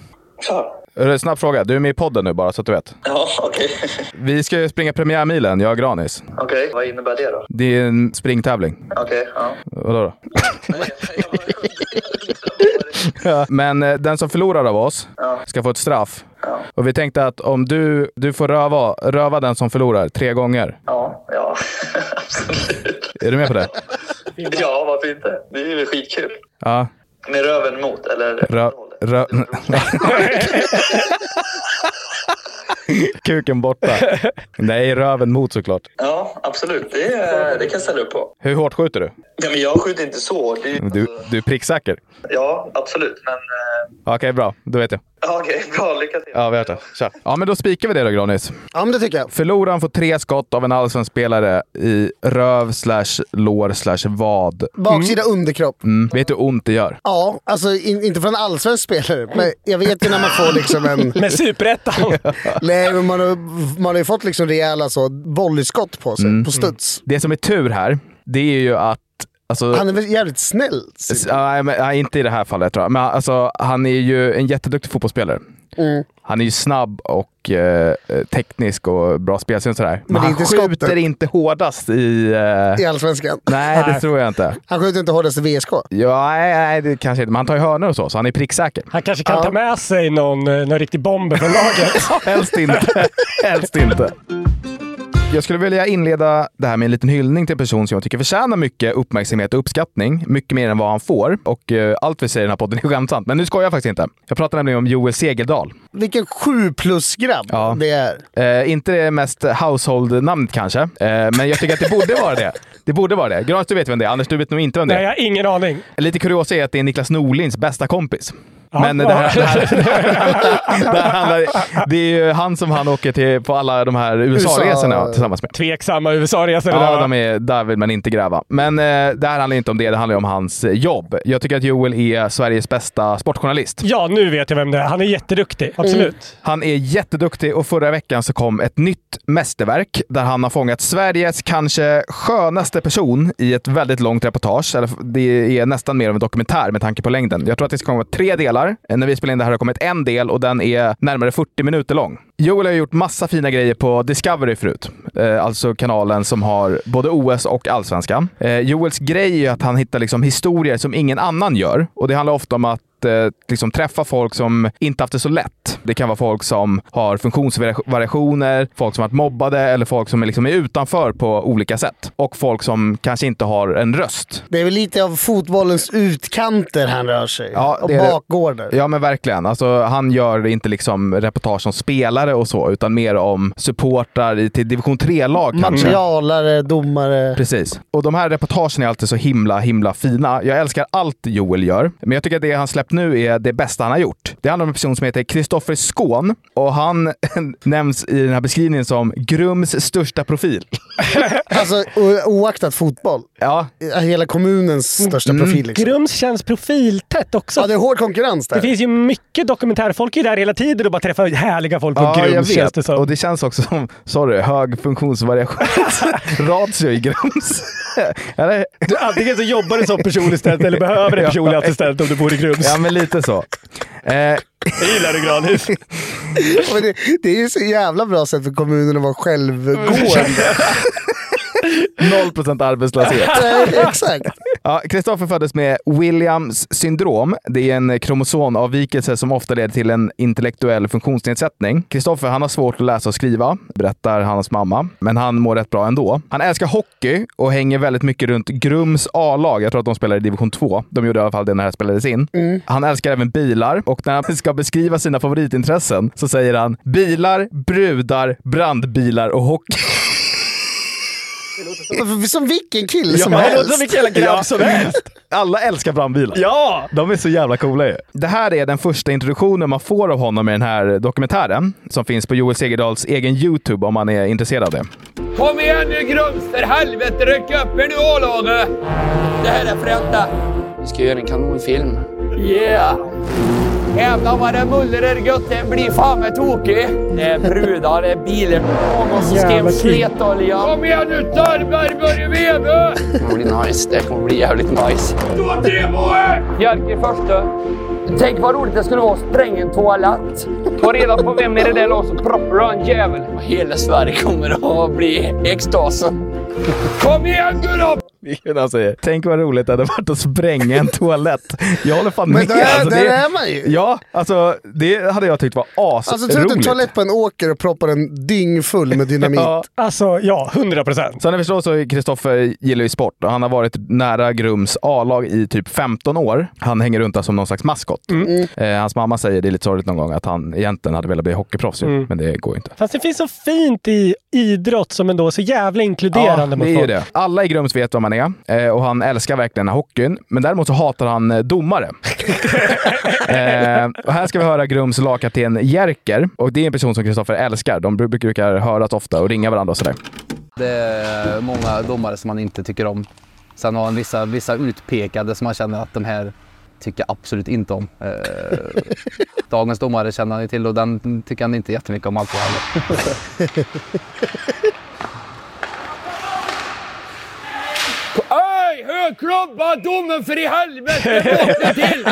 Speaker 1: Eh, Snabb fråga. Du är med i podden nu bara, så att du vet.
Speaker 5: Ja, okej.
Speaker 1: Vi ska ju springa premiärmilen, jag och Granis.
Speaker 5: Okej, vad innebär det då?
Speaker 1: Det är en springtävling.
Speaker 5: Okej, ja.
Speaker 1: Vadå då?
Speaker 5: Nej, jag bara undrade.
Speaker 1: Men eh, den som förlorar av oss ska få ett straff. Och vi tänkte att om du, du får röva, röva den som förlorar tre gånger.
Speaker 5: Ja, ja. Absolut.
Speaker 1: Är du med på det?
Speaker 5: Ja, varför inte? Det är ju skitkul.
Speaker 1: Ja.
Speaker 5: Med röven mot, eller?
Speaker 1: Rö, rö, Kuken borta. Nej, röven mot såklart.
Speaker 5: Ja, absolut. Det, är- det kan jag ställa upp på.
Speaker 1: Hur hårt skjuter du?
Speaker 5: Ja, men jag skjuter inte så hårt. Det är ju-
Speaker 1: Du, du är pricksäker.
Speaker 5: Ja, absolut. Men eh,
Speaker 1: Okej, bra. Då vet jag.
Speaker 5: ja, okej, bra. Lycka till.
Speaker 1: Ja, vi har det. Tja. Ja, men då spikar vi det då, Granis.
Speaker 3: Ja, men det tycker jag.
Speaker 1: Förloraren får tre skott av en allsvensk spelare i röv slash lår slash vad.
Speaker 3: Baksida underkropp.
Speaker 1: Mm. Vet du hur ont det gör?
Speaker 3: Ja, alltså in, inte från allsvensk spelare, men jag vet ju när man får liksom en...
Speaker 2: Med superettan.
Speaker 3: Nej, men man har, man har ju fått liksom rejäla så volleyskott på sig,
Speaker 1: Mm.
Speaker 3: på studs.
Speaker 1: Det som är tur här, det är ju att... Alltså,
Speaker 3: Han är väl jävligt snäll? Simon?
Speaker 1: Ja, nej, men, nej, inte i det här fallet tror jag. Men alltså, han är ju en jätteduktig fotbollsspelare. Han är ju snabb och eh, teknisk och bra spelsinne och sådär. Men,
Speaker 3: det är
Speaker 1: han
Speaker 3: inte
Speaker 1: skjuter
Speaker 3: skottet.
Speaker 1: inte hårdast i... Eh,
Speaker 3: I Allsvenskan.
Speaker 1: Nej, det tror jag inte.
Speaker 3: Han skjuter inte hårdast i VSK.
Speaker 1: Ja, nej, nej, det kanske inte. Men han tar ju hörnor och så, så han är pricksäker.
Speaker 2: Han kanske kan ta med sig någon, eh, någon riktig bomber från laget.
Speaker 1: Helst inte. Helst inte. Jag skulle vilja inleda det här med en liten hyllning till en person som jag tycker förtjänar mycket uppmärksamhet och uppskattning. Mycket mer än vad han får. Och eh, allt vi säger i den här podden är skämtsamt, men nu skojar jag faktiskt inte. Jag pratar nämligen om Joel Segerdahl.
Speaker 3: Vilken sju plus-grabb
Speaker 1: Ja.
Speaker 3: det är.
Speaker 1: Eh, inte det mest household-namnet kanske, eh, men jag tycker att det borde vara det. Det borde vara det. Granis, du vet vem det är. Anders, du vet nog inte vem det är.
Speaker 2: Nej, jag har ingen aning.
Speaker 1: Lite kuriosa är att det är Niklas Norlins bästa kompis.
Speaker 2: Ja.
Speaker 1: Men det här, det, här, det, här handlar, det är ju han som han åker till på alla de här USA-resorna
Speaker 3: USA.
Speaker 1: tillsammans med.
Speaker 2: Tveksamma USA-resor.
Speaker 1: Ja,
Speaker 2: där, va?
Speaker 1: de är, där vill man inte gräva. Men eh, det här handlar ju inte om det, det handlar ju om hans eh, jobb. Jag tycker att Joel är Sveriges bästa sportjournalist.
Speaker 2: ja, nu vet jag vem det är. Han är jätteduktig. Absolut.
Speaker 1: Han är jätteduktig och förra veckan så kom ett nytt mästerverk där han har fångat Sveriges kanske skönaste person i ett väldigt långt reportage. Eller Det är nästan mer av en dokumentär med tanke på längden. Jag tror att det ska komma tre delar. Eh, När vi spelar in det här har det kommit en del och den är närmare 40 minuter lång. Joel har gjort massa fina grejer på Discovery förut, eh, alltså kanalen som har både OS och allsvenskan. Eh, Joels grej är ju att han hittar liksom historier som ingen annan gör och det handlar ofta om att eh, liksom träffa folk som inte haft det så lätt. Det kan vara folk som har funktionsvariationer, folk som varit mobbade eller folk som är liksom är utanför på olika sätt. Och folk som kanske inte har en röst.
Speaker 3: Det är väl lite av fotbollens utkanter han rör sig.
Speaker 1: Ja,
Speaker 3: och
Speaker 1: det är det.
Speaker 3: bakgårdar.
Speaker 1: Ja, men verkligen. Alltså, han gör inte liksom reportage som spelare och så, utan mer om supportrar i till division 3-lag
Speaker 3: Mm.
Speaker 1: kanske.
Speaker 3: Materialare, domare.
Speaker 1: Precis. Och de här reportagen är alltid så himla, himla fina. Jag älskar allt Joel gör, men jag tycker att det han släppt nu är det bästa han har gjort. Det handlar om en person som heter Kristoffer Skån och han nämns i den här beskrivningen som Grums största profil.
Speaker 3: Alltså o- oaktat fotboll.
Speaker 1: Ja,
Speaker 3: Eh, Hela kommunens
Speaker 2: Mm.
Speaker 3: största profil. Liksom.
Speaker 2: Grums känns profiltätt också.
Speaker 3: Ja, det är hård konkurrens där.
Speaker 2: Det finns ju mycket dokumentär. Folk är ju där hela tiden och bara träffar härliga folk på
Speaker 1: ja jag
Speaker 2: Grums känns
Speaker 1: vet.
Speaker 2: det
Speaker 1: och
Speaker 2: som.
Speaker 1: det känns också som, sorry, hög funktionsvariation. Ratio i Grums. Eller?
Speaker 2: Du, antingen så jobbar du som personlig assistent eller behöver en personlig assistent om du bor i Grums.
Speaker 1: Ja, men lite så. Eh,
Speaker 2: Jag gillar du Granhus.
Speaker 3: Men det, det är ju så jävla bra sätt för kommunen att vara
Speaker 2: Mm.
Speaker 3: självgående.
Speaker 1: 0% arbetslöshet.
Speaker 3: Nej, Exakt.
Speaker 1: Ja, Kristoffer föddes med Williams syndrom. Det är en kromosomavvikelse som ofta leder till en intellektuell funktionsnedsättning. Kristoffer han har svårt att läsa och skriva, berättar hans mamma. Men han mår rätt bra ändå. Han älskar hockey och hänger väldigt mycket runt Grums A-lag. Jag tror att de spelar i division 2. De gjorde i alla fall det när det här spelades in. Han älskar även bilar och när han ska beskriva sina favoritintressen så säger han bilar, brudar, brandbilar och hockey.
Speaker 3: Som vilken kille som
Speaker 1: Ja,
Speaker 2: Det
Speaker 3: helst.
Speaker 2: låter som vilken jävla grabb som helst.
Speaker 1: Alla älskar brandbilar.
Speaker 2: Ja!
Speaker 1: De är så jävla coola ju. Det här är den första introduktionen man får av honom i den här dokumentären som finns på Joel Segerdahls egen YouTube om man är intresserad av det.
Speaker 6: Kom igen nu Grums, för helvete! Ryck upp er nu A-laget! Det här är Fränta. Vi ska göra en kanonfilm. Yeah! Jävlar vad det mullrar gött, det blir fan med tokig. Det är brudar, det är bilar, någon som skrev sletolja. Kom igen nu tarvar, börja veva! Det kommer bli nice, det kommer bli jävligt nice. Stå tre på er! Jerker första. Tänk vad roligt det skulle vara att spränga en toalett. Ta reda på vem i det där laget som proppar och en jävel. Hela Sverige kommer att bli extasen. Kom igen nu då!
Speaker 1: Vilken han säger. Tänk vad roligt det hade varit att spränga en toalett. Jag håller fan
Speaker 3: Men
Speaker 1: med.
Speaker 3: där,
Speaker 1: alltså,
Speaker 3: där
Speaker 1: det,
Speaker 3: är man ju.
Speaker 1: Ja, alltså det hade jag tyckt var asroligt.
Speaker 3: Alltså tror du att en toalett på en åker och proppar en dyng full med dynamit?
Speaker 1: Ja.
Speaker 2: Alltså, ja, 100 procent.
Speaker 1: Som ni förstår så Kristoffer gillar ju sport och han har varit nära Grums A-lag i typ 15 år. Han hänger runt där som någon slags maskot. Eh, hans mamma säger, det är lite sorgligt någon gång, att han egentligen hade velat bli hockeyproffs ju, men det går ju inte.
Speaker 2: Fast det finns så fint i idrott som ändå är så jävla inkluderande mot
Speaker 1: det är ju
Speaker 2: folk.
Speaker 1: det. Alla i Grums vet vad man är eh, och han älskar verkligen hockeyn, men däremot så hatar han eh, domare. eh, och här ska vi höra Grums lagkapten Jerker och det är en person som Kristoffer älskar. De bru- brukar höras ofta och ringa varandra och sådär.
Speaker 7: Det är många domare som man inte tycker om. Sen har han vissa, vissa utpekade som man känner att de här tycker jag absolut inte om. Eh, dagens domare känner han ju till och den tycker han inte jättemycket om allt heller.
Speaker 6: Öj, högklubba domen för i helvete! Vakna till!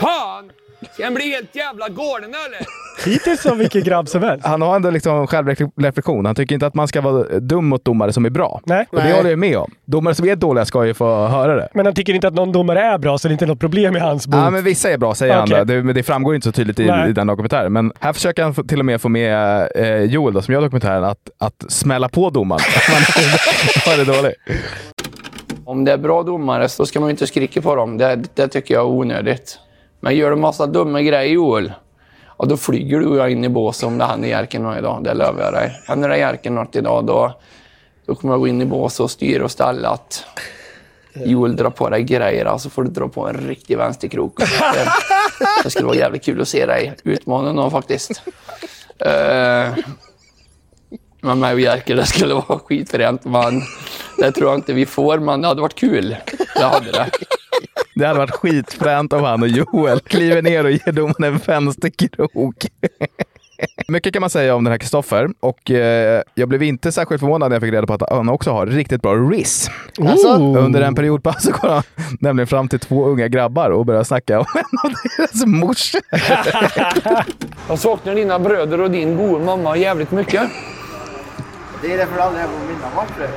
Speaker 6: Fan! Ska jag bli helt jävla galen eller?
Speaker 2: Hittills som vilken grabb som helst.
Speaker 1: Han har ändå liksom självreflektion. Han tycker inte att man ska vara dum mot domare som är bra.
Speaker 2: Nej.
Speaker 1: Och det håller jag med om. Domare som är dåliga ska ju få höra det.
Speaker 2: Men han tycker inte att någon domare är bra, så det är inte något problem i hans bok.
Speaker 1: Ja, men vissa är bra säger han.
Speaker 2: Okej.
Speaker 1: då. Det, men det framgår inte så tydligt i,
Speaker 2: Nej.
Speaker 1: i den dokumentären. Men här försöker han få- till och med få med eh, Joel då, som gör dokumentären att, att smälla på domaren. Att man man är dålig.
Speaker 6: Om det är bra domare så ska man ju inte skrika på dem. Det, det tycker jag är onödigt. Men gör du massa dumma grejer Joel, ja, då flyger du och jag in i båset om det händer Jerker något idag. Det lovar jag dig. Händer det Jerker något idag då, då kommer jag gå in i båset och styra och ställa att Joel drar på dig grejer. Alltså får du dra på en riktig vänsterkrok. Det, det skulle vara jävligt kul att se dig utmana någon faktiskt. Eh, men mig och Jerker, det skulle vara skitfränt. Man, det tror jag inte vi får, men det hade varit kul. Det hade det.
Speaker 1: Det hade varit skitfränt om han och Joel kliver ner och ger domaren en vänsterkrok. Mycket kan man säga om den här Kristoffer och eh, jag blev inte särskilt förvånad när jag fick reda på att han också har riktigt bra riss. Alltså, Under en period på så går han nämligen fram till två unga grabbar och börjar snacka om en av deras morsor.
Speaker 6: Jag saknar dina bröder och din gode mamma jävligt mycket.
Speaker 7: Det är därför aldrig är på mina matcher.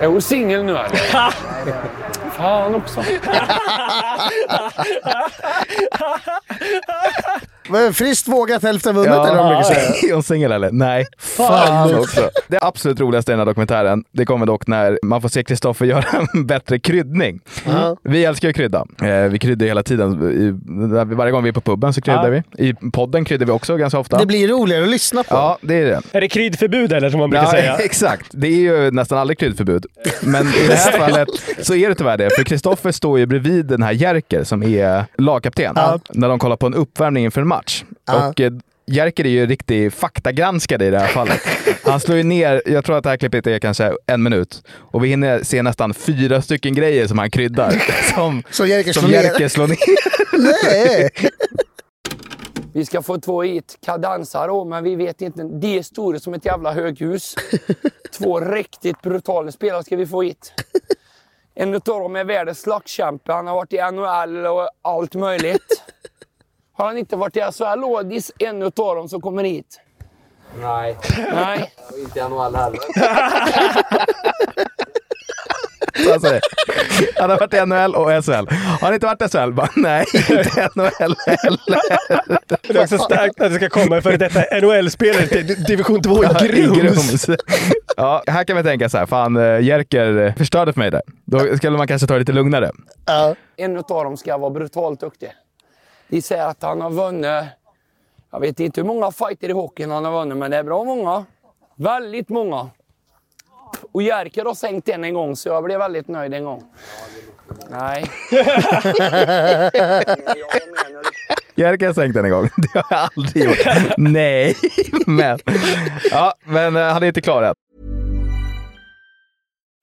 Speaker 6: Är hon singel nu eller? Fan också.
Speaker 3: Men Friskt vågat, hälften vunnet eller vad de brukar säga.
Speaker 1: Är hon singel eller? Nej. Fan också. Det absolut roligaste i den här dokumentären, det kommer dock när man får se Kristoffer göra en bättre kryddning.
Speaker 3: Mm.
Speaker 1: Vi älskar ju krydda. Eh, vi kryddar ju hela tiden. I, varje gång vi är på puben så kryddar vi. I podden kryddar vi också ganska ofta.
Speaker 3: Det blir roligare att lyssna på.
Speaker 1: Ja, det är det.
Speaker 2: Är det kryddförbud eller som man brukar
Speaker 1: Ja,
Speaker 2: säga?
Speaker 1: exakt. Det är ju nästan aldrig kryddförbud. Men i det här fallet så är det tyvärr det. För Kristoffer står ju bredvid den här Jerker som är lagkapten när de kollar på en uppvärmning inför en match. Och eh, Jerker är ju riktig faktagranskare i det här fallet. Han slår ju ner, jag tror att det här klippet är kanske en minut, och vi hinner se nästan fyra stycken grejer som han kryddar. Som,
Speaker 3: Som Jerker
Speaker 1: som
Speaker 3: slår ner.
Speaker 1: Jerker slår ner.
Speaker 3: Nej!
Speaker 6: Vi ska få två hit kadensar då, men vi vet inte. De är stora som ett jävla höghus. Två riktigt brutala spelare ska vi få hit. En utav dem är världens slagskämpe. Han har varit i NHL och allt möjligt. Har han inte varit i SHL då? Det är en utav dem som kommer hit.
Speaker 7: Nej,
Speaker 6: Nej.
Speaker 7: inte i NHL heller.
Speaker 1: Alltså, han har varit i NHL och SHL. Har han inte varit i SHL? Bara, nej, inte NHL heller.
Speaker 2: Det är också starkt att det ska komma för detta NHL-spelare till division 2 i Grums.
Speaker 1: Ja, här kan man tänka så här, fan eh, Jerker eh, förstörde för mig där. Då skulle man kanske ta det lite lugnare.
Speaker 6: En utav dem ska vara brutalt duktig. De säger att han har vunnit... Jag vet inte hur många fighter i hockeyn han har vunnit, men det är bra många. Väldigt många. Och Jerker har sänkt en en gång, så jag blev väldigt nöjd en gång. Nej.
Speaker 1: Jerker har sänkt den en gång. Det har jag aldrig gjort. Nej, men. Ja, men eh, han är inte klar än.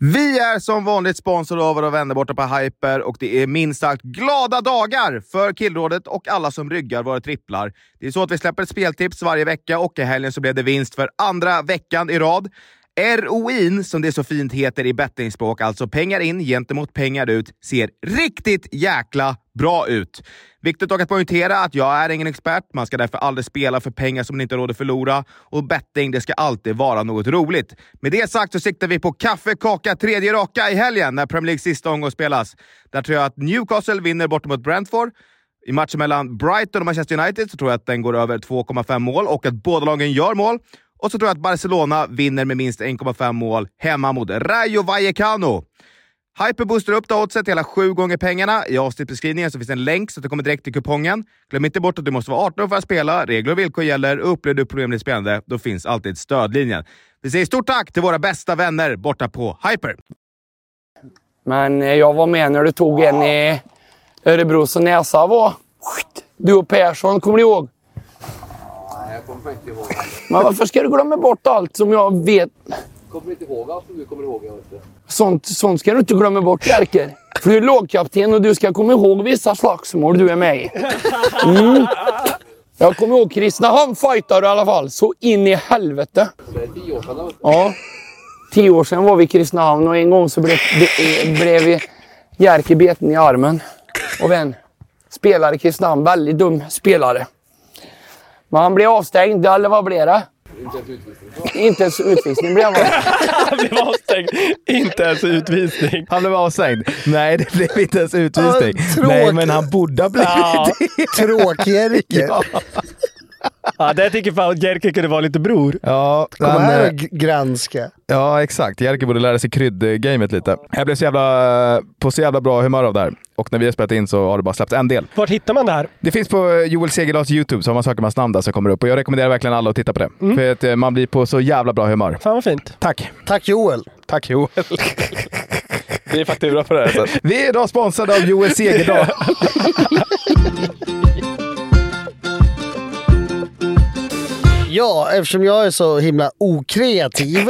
Speaker 1: Vi är som vanligt sponsrade av våra vänner borta på Hyper och det är minst sagt glada dagar för Killrådet och alla som ryggar våra tripplar. Det är så att vi släpper ett speltips varje vecka och i helgen så blev det vinst för andra veckan i rad. ROI'n, som det så fint heter i bettingspråk, alltså pengar in gentemot pengar ut, ser riktigt jäkla bra ut. Viktigt dock att poängtera att jag är ingen expert. Man ska därför aldrig spela för pengar som man inte har råd att förlora. Och betting, det ska alltid vara något roligt. Med det sagt så siktar vi på kaffe, kaka, tredje raka i helgen när Premier Leagues sista omgång spelas. Där tror jag att Newcastle vinner borta mot Brentford. I matchen mellan Brighton och Manchester United så tror jag att den går över 2,5 mål och att båda lagen gör mål. Och så tror jag att Barcelona vinner med minst 1,5 mål hemma mot Rayo Vallecano. Hyper boostar upp då oddset till hela sju gånger pengarna. I avsnittbeskrivningen så finns en länk så att du kommer direkt till kupongen. Glöm inte bort att du måste vara 18 år för att spela. Regler och villkor gäller. Upplever du problem med spelande, då finns alltid stödlinjen. Vi säger stort tack till våra bästa vänner borta på Hyper!
Speaker 6: Men eh, jag var med när du tog en i Örebro så näsa var... Du och Persson, kommer ni ihåg?
Speaker 7: Nej, jag kommer inte ihåg.
Speaker 6: Men varför ska du glömma bort allt som jag vet?
Speaker 7: Kommer inte ihåg allt som du kommer ihåg. Jag vet inte.
Speaker 6: Sånt, sånt ska du inte glömma bort, Jerker. För du är lagkapten och du ska komma ihåg vissa slagsmål du är med i. Mm. Jag kommer ihåg Kristinehamn fightade du i alla fall. Så in i helvete.
Speaker 7: Det är tio år sedan.
Speaker 6: Ja. Tio år sedan var vi i Kristinehamn och en gång så blev, be, blev vi Jerker beten i armen. Och en spelare i Kristinehamn. Väldigt dum spelare. Men han blev avstängd, eller vad blev det? Inte ens utvisning blev han.
Speaker 2: Han blev avstängd. Inte ens utvisning.
Speaker 1: Han blev avstängd. Nej, det blev inte ens utvisning.
Speaker 3: tråkigt.
Speaker 1: Nej, men han borde ha blivit
Speaker 2: Ja.
Speaker 1: det.
Speaker 3: Tråkiga Ricke.
Speaker 2: Ja, där tycker fan att Jerker kunde vara lite bror.
Speaker 1: Ja,
Speaker 3: Kom
Speaker 1: han,
Speaker 3: här
Speaker 1: eh,
Speaker 3: och g- granska.
Speaker 1: Ja, exakt. Jerker borde lära sig kryddgamet lite. Jag blev så jävla, eh, på så jävla bra humör av det här. Och när vi har spelat in så har det bara släppts en del.
Speaker 2: Vart hittar man det här?
Speaker 1: Det finns på eh, Joel Segerlas YouTube, så om man söker hans namn där så kommer det upp. Och jag rekommenderar verkligen alla att titta på det. För att eh, man blir på så jävla bra humör.
Speaker 2: Fan vad fint.
Speaker 1: Tack!
Speaker 3: Tack Joel.
Speaker 1: Tack Joel! Vi är faktura på det här sen. Vi är idag sponsrade av Joel Segerdahl.
Speaker 3: Ja, eftersom jag är så himla okreativ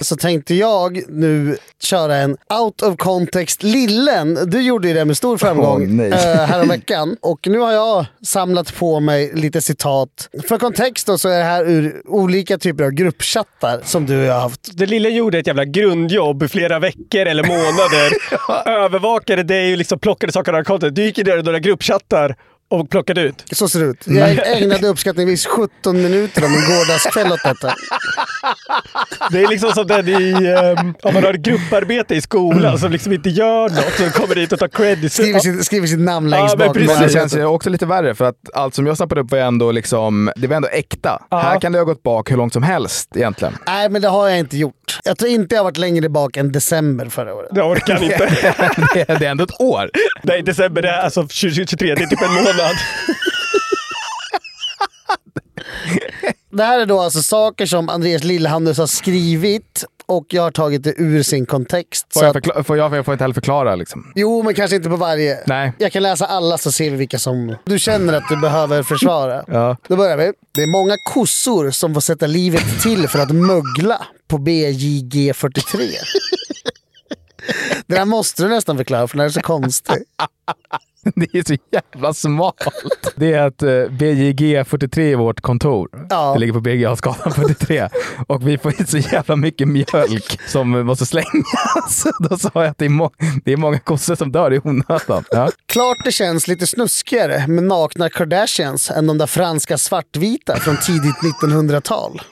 Speaker 3: så tänkte jag nu köra en out of context lillen. Du gjorde ju det med stor framgång
Speaker 1: Åh, nej.
Speaker 3: eh, häromveckan och nu har jag samlat på mig lite citat. För kontext då så är det här ur olika typer av gruppchattar som du och jag har haft.
Speaker 2: Det lilla gjorde ett jävla grundjobb i flera veckor eller månader. Övervakade dig och liksom plockade saker av content. Du gick in i några gruppchattar och plockade ut.
Speaker 3: Så ser det ut. Jag ägnade uppskattningsvis 17 minuter om en gårdagskväll åt detta.
Speaker 2: Det är liksom som den i... ehm, om man har ett grupparbete i skolan som liksom inte gör något så kommer dit och tar credit.
Speaker 3: Skriver sitt, skriver sitt namn
Speaker 2: Ja,
Speaker 3: längst
Speaker 2: men
Speaker 3: bak.
Speaker 2: precis.
Speaker 1: Men det
Speaker 2: Precis.
Speaker 1: känns ju också lite värre för att allt som jag snappade upp var ju ändå liksom, det var ändå äkta. Här kan det ha gått bak hur långt som helst egentligen.
Speaker 3: Nej, men det har jag inte gjort. Jag tror inte jag har varit längre bak än december förra året.
Speaker 2: Jag orkar inte.
Speaker 1: Det är det är ändå ett år.
Speaker 2: Nej, december. Det är alltså 2023. Det är typ en månad.
Speaker 3: Det här är då alltså saker som Andreas Lillhandus har skrivit och jag har tagit det ur sin kontext.
Speaker 1: Får
Speaker 3: så
Speaker 1: jag,
Speaker 3: att,
Speaker 1: förkla- får jag, jag får inte heller förklara liksom.
Speaker 3: jo, men kanske inte på varje.
Speaker 1: Nej.
Speaker 3: Jag kan läsa alla så ser vi vilka som du känner att du behöver försvara.
Speaker 1: Ja.
Speaker 3: Då börjar vi. Det är många kossor som får sätta livet till för att mögla på BJG 43. Det där måste du nästan förklara för den här är så konstig.
Speaker 1: Det är så jävla smalt. Det är att eh, BJG 43 är vårt kontor.
Speaker 3: Ja.
Speaker 1: Det ligger på BGA-skalan 43. Och vi får in så jävla mycket mjölk som måste slängas. Då sa jag att det är, må- det är många kossor som dör i onödan. Ja.
Speaker 3: Klart det känns lite snuskigare med nakna Kardashians än de där franska svartvita från tidigt 1900-tal.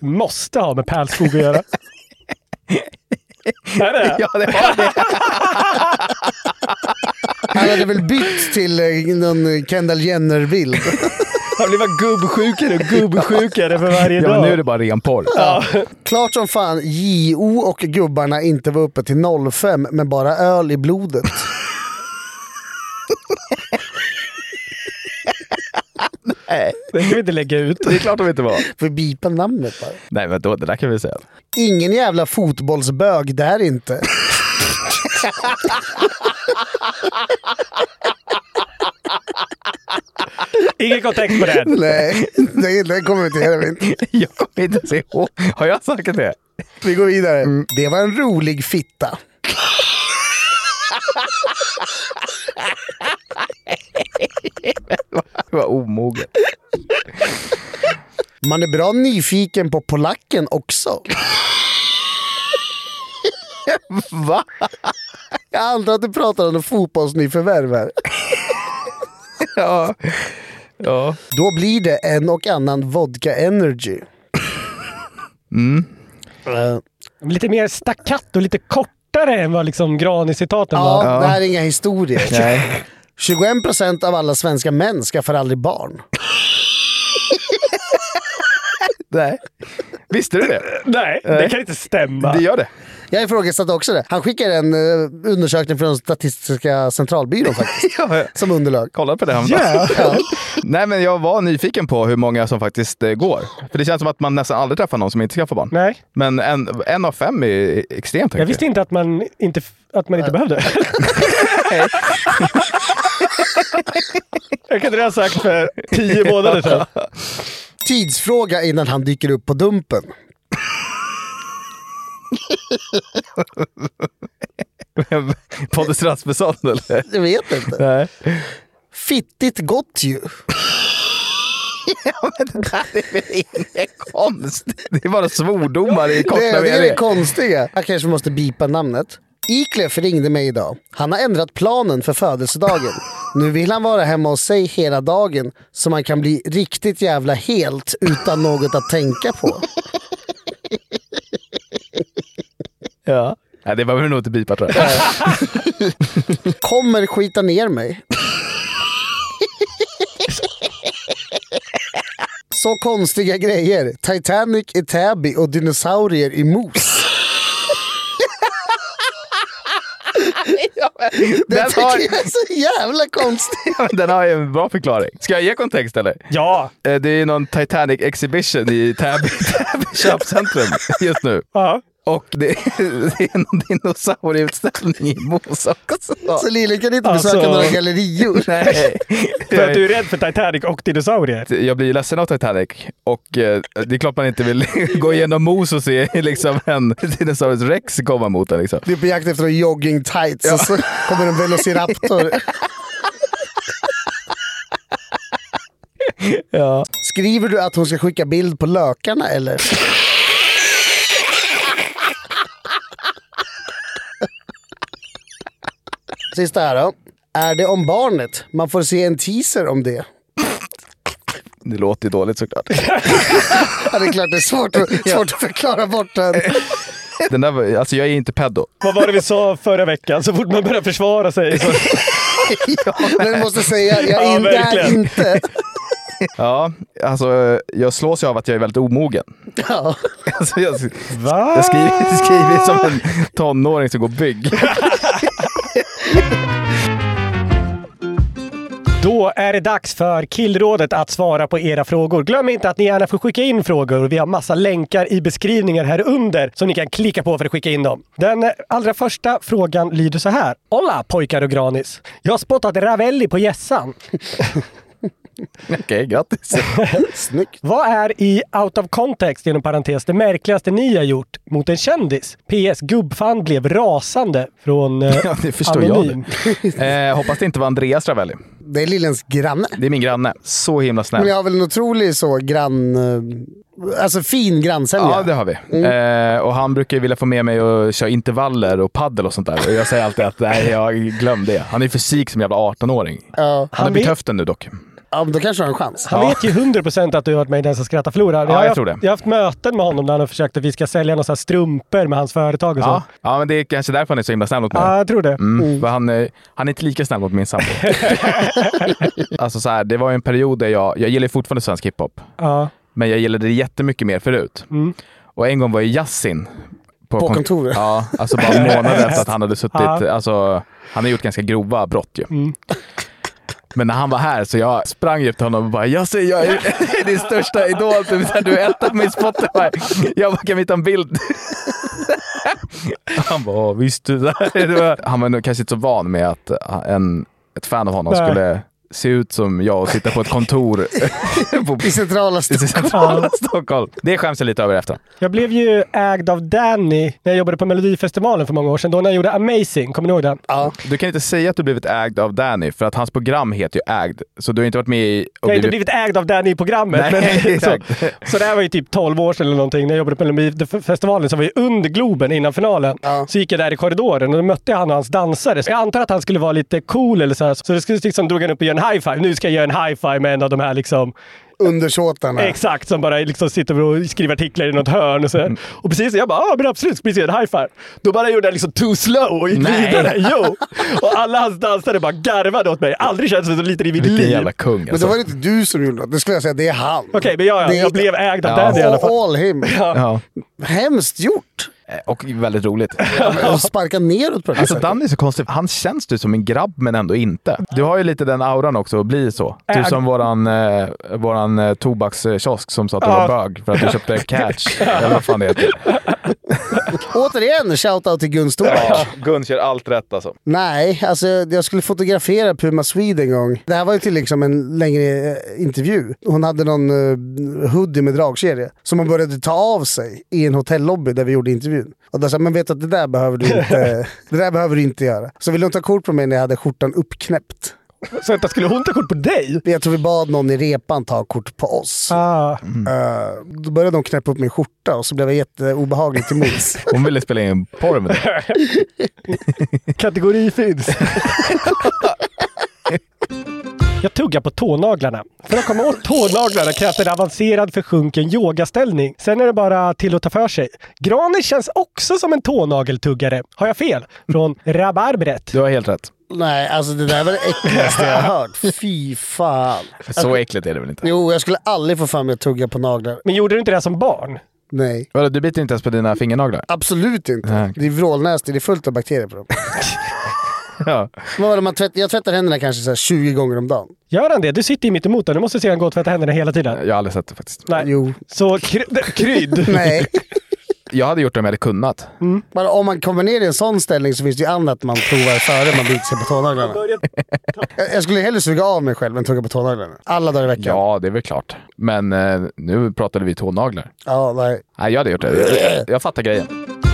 Speaker 2: måste ha med Pärlskog att göra. är det?
Speaker 1: Ja, det har det.
Speaker 3: Han hade väl bytt till eh, någon Kendall Jenner-bild.
Speaker 2: Han blev bara gubbsjukare och gubbsjukare för varje
Speaker 1: Ja,
Speaker 2: dag.
Speaker 1: men nu är det bara ren porr.
Speaker 3: Ja. Klart som fan JO och gubbarna inte var uppe till 05 med bara öl i blodet.
Speaker 2: Det kan vi inte lägga ut.
Speaker 1: Det är klart de inte var.
Speaker 3: För bipa namnet bara.
Speaker 1: Nej, men då, det där kan vi säga.
Speaker 3: Ingen jävla fotbollsbög där inte.
Speaker 2: Ingen kontext på det. här.
Speaker 3: Nej, det, det kommer vi inte göra. Vint.
Speaker 1: Jag kommer inte se ihåg. Har jag sagt det?
Speaker 3: Vi går vidare. Det var en rolig fitta.
Speaker 1: Det var omoget.
Speaker 3: Man är bra nyfiken på polacken också.
Speaker 1: Va?
Speaker 3: Jag antar att du pratar om en fotbollsnyförvärv här.
Speaker 1: Ja. Ja.
Speaker 3: Då blir det en och annan vodka energy.
Speaker 1: Mm.
Speaker 3: Eh,
Speaker 2: Lite mer staccato, lite kortare än vad liksom Granis-citaten
Speaker 3: Ja,
Speaker 2: var.
Speaker 3: det här är inga historier.
Speaker 1: Nej.
Speaker 3: 21 procent av alla svenska män skaffar aldrig barn.
Speaker 1: Nej. Visste du det?
Speaker 2: Nej, det
Speaker 1: Nej.
Speaker 2: kan inte stämma.
Speaker 1: Det gör det.
Speaker 3: Jag ifrågasatte också det. Han skickar en eh, undersökning från Statistiska centralbyrån faktiskt.
Speaker 1: Ja.
Speaker 3: Som underlag.
Speaker 1: Kolla på det. häromdagen.
Speaker 3: Ja.
Speaker 1: Nej, men jag var nyfiken på hur många som faktiskt eh, går. För det känns som att man nästan aldrig träffar någon som inte skaffar barn.
Speaker 2: Nej,
Speaker 1: Men en, en av fem är extremt högt.
Speaker 2: jag visste inte att man inte, att man inte behövde. jag kunde det ha sagt för tio månader sedan.
Speaker 3: Tidsfråga innan han dyker upp på Dumpen.
Speaker 1: Pontus Rasmusson eller?
Speaker 3: Jag vet inte.
Speaker 1: Nej.
Speaker 3: Fittigt gott ju.
Speaker 1: Konstigt. Det är bara svordomar i
Speaker 3: Det,
Speaker 1: korta
Speaker 3: det är det
Speaker 1: meningar.
Speaker 3: konstiga. Jag kanske måste bipa namnet. Ikleff ringde mig idag. Han har ändrat planen för födelsedagen. Nu vill han vara hemma hos sig hela dagen så man kan bli riktigt jävla helt utan något att tänka på.
Speaker 1: Ja. Nej, det behöver du nog inte bipa tror jag.
Speaker 3: Kommer skita ner mig. Så konstiga grejer. Titanic i Täby och dinosaurier i mos. Det
Speaker 1: Den
Speaker 3: tycker
Speaker 1: har,
Speaker 3: jag är så jävla konstigt.
Speaker 1: Ja, men den har ju en bra förklaring. Ska jag ge kontext eller?
Speaker 2: Ja,
Speaker 1: Eh, Det är ju någon Titanic Exhibition i Täby, Täby köpcentrum just nu.
Speaker 2: ja.
Speaker 1: Och det är, det är en dinosaurieutställning i Mos också.
Speaker 3: Så Lille kan inte
Speaker 2: Alltså-
Speaker 3: besöka några gallerior.
Speaker 1: Nej.
Speaker 2: för att du är rädd för Titanic och dinosaurier.
Speaker 1: jag blir ledsen av Titanic och eh, det är klart man inte vill gå igenom mos och se liksom, en dinosaurus rex komma mot en. Liksom.
Speaker 3: Du är på jakt efter en jogging tights och så kommer en velociraptor. Skriver du att hon ska skicka bild på lökarna eller? Sista här då. Är det om barnet? Man får se en teaser om det.
Speaker 1: Det låter ju dåligt såklart.
Speaker 3: Ja, det är klart det är svårt att, svårt att förklara bort den.
Speaker 1: Den där, var- alltså, jag är inte pedo.
Speaker 2: Vad var det vi sa förra veckan? Så fort man börjar försvara sig. Så...
Speaker 3: Men jag måste säga, jag
Speaker 2: Ja,
Speaker 3: är in, det är
Speaker 2: verkligen.
Speaker 3: inte...
Speaker 1: Ja, alltså, eh, jag slås ju av att jag är väldigt omogen.
Speaker 3: Ja.
Speaker 1: Alltså, jag,
Speaker 2: Va?
Speaker 1: jag
Speaker 2: Ah.
Speaker 1: skriver, skriver som en tonåring som går bygg.
Speaker 2: Då är det dags för Killrådet att svara på era frågor. Glöm inte att ni gärna får skicka in frågor. Vi har massa länkar i beskrivningen här under som ni kan klicka på för att skicka in dem. Den allra första frågan lyder så här. Olla pojkar och granis! Jag har spottat Ravelli på gässan.
Speaker 1: Okej, grattis.
Speaker 3: Snyggt.
Speaker 2: Vad är i Out of Context genom parentes det märkligaste ni har gjort mot en kändis? PS. Gubbfan blev rasande från eh,
Speaker 1: Ja, det förstår
Speaker 2: Anonym.
Speaker 1: jag. det. Eh, hoppas det inte var Andreas Ravelli.
Speaker 3: Det är Lillens granne.
Speaker 1: Det är min granne. Så himla
Speaker 3: Men
Speaker 1: snäll.
Speaker 3: jag har väl en otrolig så grann... eh, Alltså fin grannsämja.
Speaker 1: Ja, det har vi. Eh, och han brukar ju vilja få med mig och köra intervaller och paddel och sånt där. Och jag säger alltid att nej, jag glöm det. Han är i fysik som en jävla 18-åring. Han,
Speaker 2: Han
Speaker 1: har bytt
Speaker 2: vill-
Speaker 1: höften nu dock.
Speaker 3: Ja, men då kanske du har en chans.
Speaker 2: Han vet ju 100% att du har varit med i Den som skrattar förlorar.
Speaker 1: jag
Speaker 2: haft,
Speaker 1: tror det.
Speaker 2: Jag har haft möten med honom där han har försökt att vi ska sälja några så här strumpor med hans företag och så.
Speaker 1: Ja, ja, men det är kanske därför han är så himla snäll mot mig.
Speaker 2: Ja, jag tror det.
Speaker 1: Mm. för Han, eh, han är inte lika snäll mot min sambo. alltså så här, det var ju en period där jag, jag gillar ju fortfarande svensk hiphop,
Speaker 2: Ja.
Speaker 1: men jag gillade det jättemycket mer förut. Och en gång var ju Yasin
Speaker 3: På
Speaker 1: kon-
Speaker 3: kontoret.
Speaker 1: Ja, alltså bara månader efter att han hade suttit.
Speaker 2: Ja.
Speaker 1: Alltså, han har gjort ganska grova brott ju. Men när han var här så jag sprang ju upp till honom och bara “Jag ser, jag är din största idol, typ, så här, du är etta på min Spotify”. Jag bara “Kan vi ta en bild?” Han bara “Åh, visst du?” det var... Han var nog kanske inte så van med att eh, en, ett fan av honom
Speaker 2: Nej.
Speaker 1: skulle se ut som jag och sitta på ett kontor på,
Speaker 3: I centrala
Speaker 1: i
Speaker 3: Stockholm.
Speaker 1: centrala Stockholm. Det skäms jag lite över efter.
Speaker 2: Jag blev ju ägd av Danny när jag jobbade på Melodifestivalen för många år sedan. Då när jag gjorde Amazing. Kommer ni ihåg den?
Speaker 3: Ja.
Speaker 1: Du kan inte säga att du blivit ägd av Danny, för att hans program heter ju Ägd, så du har inte varit med i... och
Speaker 2: Jag har inte
Speaker 1: blivit-
Speaker 2: blivit ägd av Danny i programmet.
Speaker 1: Nej,
Speaker 2: så,
Speaker 1: exakt.
Speaker 2: så det här var ju typ 12 år sedan eller någonting. När jag jobbade på Melodifestivalen så var jag under Globen innan finalen.
Speaker 3: Ja.
Speaker 2: Så gick jag där i korridoren och då mötte jag han och hans dansare. Så jag antar att han skulle vara lite cool eller så här. Så det skulle liksom drog han upp och gjorde en high-five. Nu ska jag göra en high-five med en av de här liksom
Speaker 3: Undersåtarna.
Speaker 2: Exakt, som bara liksom sitter och skriver artiklar i något hörn och
Speaker 1: Mm.
Speaker 2: sådär. Och precis, jag bara ja men absolut, ska vi se en high five? Då bara gjorde jag liksom too slow och gick
Speaker 1: Nej.
Speaker 2: vidare. Jo! Och alla hans dansare bara garvade åt mig. Aldrig känts så lite i mitt
Speaker 1: Vilken
Speaker 2: liv.
Speaker 1: jävla kung
Speaker 3: Men det
Speaker 1: alltså.
Speaker 3: var inte du som gjorde det. Det skulle jag säga, det är han.
Speaker 2: Okej, men ja, ja,
Speaker 3: Det är-
Speaker 2: jag blev ägd av
Speaker 1: Ja.
Speaker 2: Danny i alla fall.
Speaker 3: All him.
Speaker 1: Ja.
Speaker 3: Hemskt gjort!
Speaker 1: Eh, Och väldigt roligt.
Speaker 3: Och sparka neråt på det här
Speaker 1: Alltså
Speaker 3: sättet.
Speaker 1: Danny är så konstig. Han känns du som en grabb, men ändå inte. Du har ju lite den auran också att bli så. Du
Speaker 2: Äg.
Speaker 1: som våran, eh, våran eh, tobakskiosk som sa att du
Speaker 2: Ja.
Speaker 1: var bög för att du köpte catch. Eller vad fan det heter.
Speaker 3: Återigen, shoutout till Gun Stork.
Speaker 1: Ja, Gun kör allt rätt alltså.
Speaker 3: Nej, alltså jag skulle fotografera Puma Swede en gång. Det här var ju till liksom en längre eh, intervju. Hon hade någon eh, hoodie med dragkedja som hon började ta av sig i en hotellobby där vi gjorde intervjun. Och då sa jag, men vet du att det där behöver du inte, det där behöver du inte göra. Så ville hon ta kort på mig när jag hade skjortan uppknäppt.
Speaker 2: Så vänta, skulle hon ta kort på dig?
Speaker 3: Jag tror vi bad någon i repan ta kort på oss.
Speaker 2: Ah.
Speaker 3: Eh, Då började de knäppa upp min skjorta och så blev jag jätteobehaglig till mods.
Speaker 1: Hon ville spela in porr med dig.
Speaker 2: Kategori finns. Jag tuggar på tånaglarna. För att komma åt tånaglarna krävs en avancerad försjunken yogaställning. Sen är det bara till att ta för sig. Granen känns också som en tånageltuggare. Har jag fel? Från rabarbret.
Speaker 1: Du har helt rätt.
Speaker 3: Nej, alltså det där var det äckligaste jag har hört. Fy fan.
Speaker 1: Så äckligt är det väl inte?
Speaker 3: Jo, jag skulle aldrig få för mig att tugga på naglar.
Speaker 2: Men gjorde du inte det som barn?
Speaker 3: Nej.
Speaker 1: Vadå, Du biter inte ens på dina fingernaglar?
Speaker 3: Absolut inte.
Speaker 1: Nej.
Speaker 3: Det är vrålnäsigt, det är fullt av bakterier på dem.
Speaker 1: Ja.
Speaker 3: Vad var det, man tvätt, jag tvättar händerna kanske så här 20 gånger om dagen.
Speaker 2: Gör han det? Du sitter ju mitt emot honom. Du måste se han gå och tvätta händerna hela tiden.
Speaker 1: Jag har aldrig sett det faktiskt.
Speaker 2: Nej.
Speaker 3: Jo.
Speaker 2: Så kry- krydd.
Speaker 3: Nej.
Speaker 1: Jag hade gjort det om jag hade kunnat.
Speaker 3: Bara om man kommer ner i en sån ställning så finns det ju annat man provar före man biter sig på tånaglarna. Jag, jag skulle hellre suga av mig själv än tugga på tånaglarna. Alla dagar i veckan.
Speaker 1: Ja, det är väl klart. Men eh, nu pratade vi tånaglar.
Speaker 3: ja nej.
Speaker 1: Nej, jag hade gjort det. Jag fattar grejen.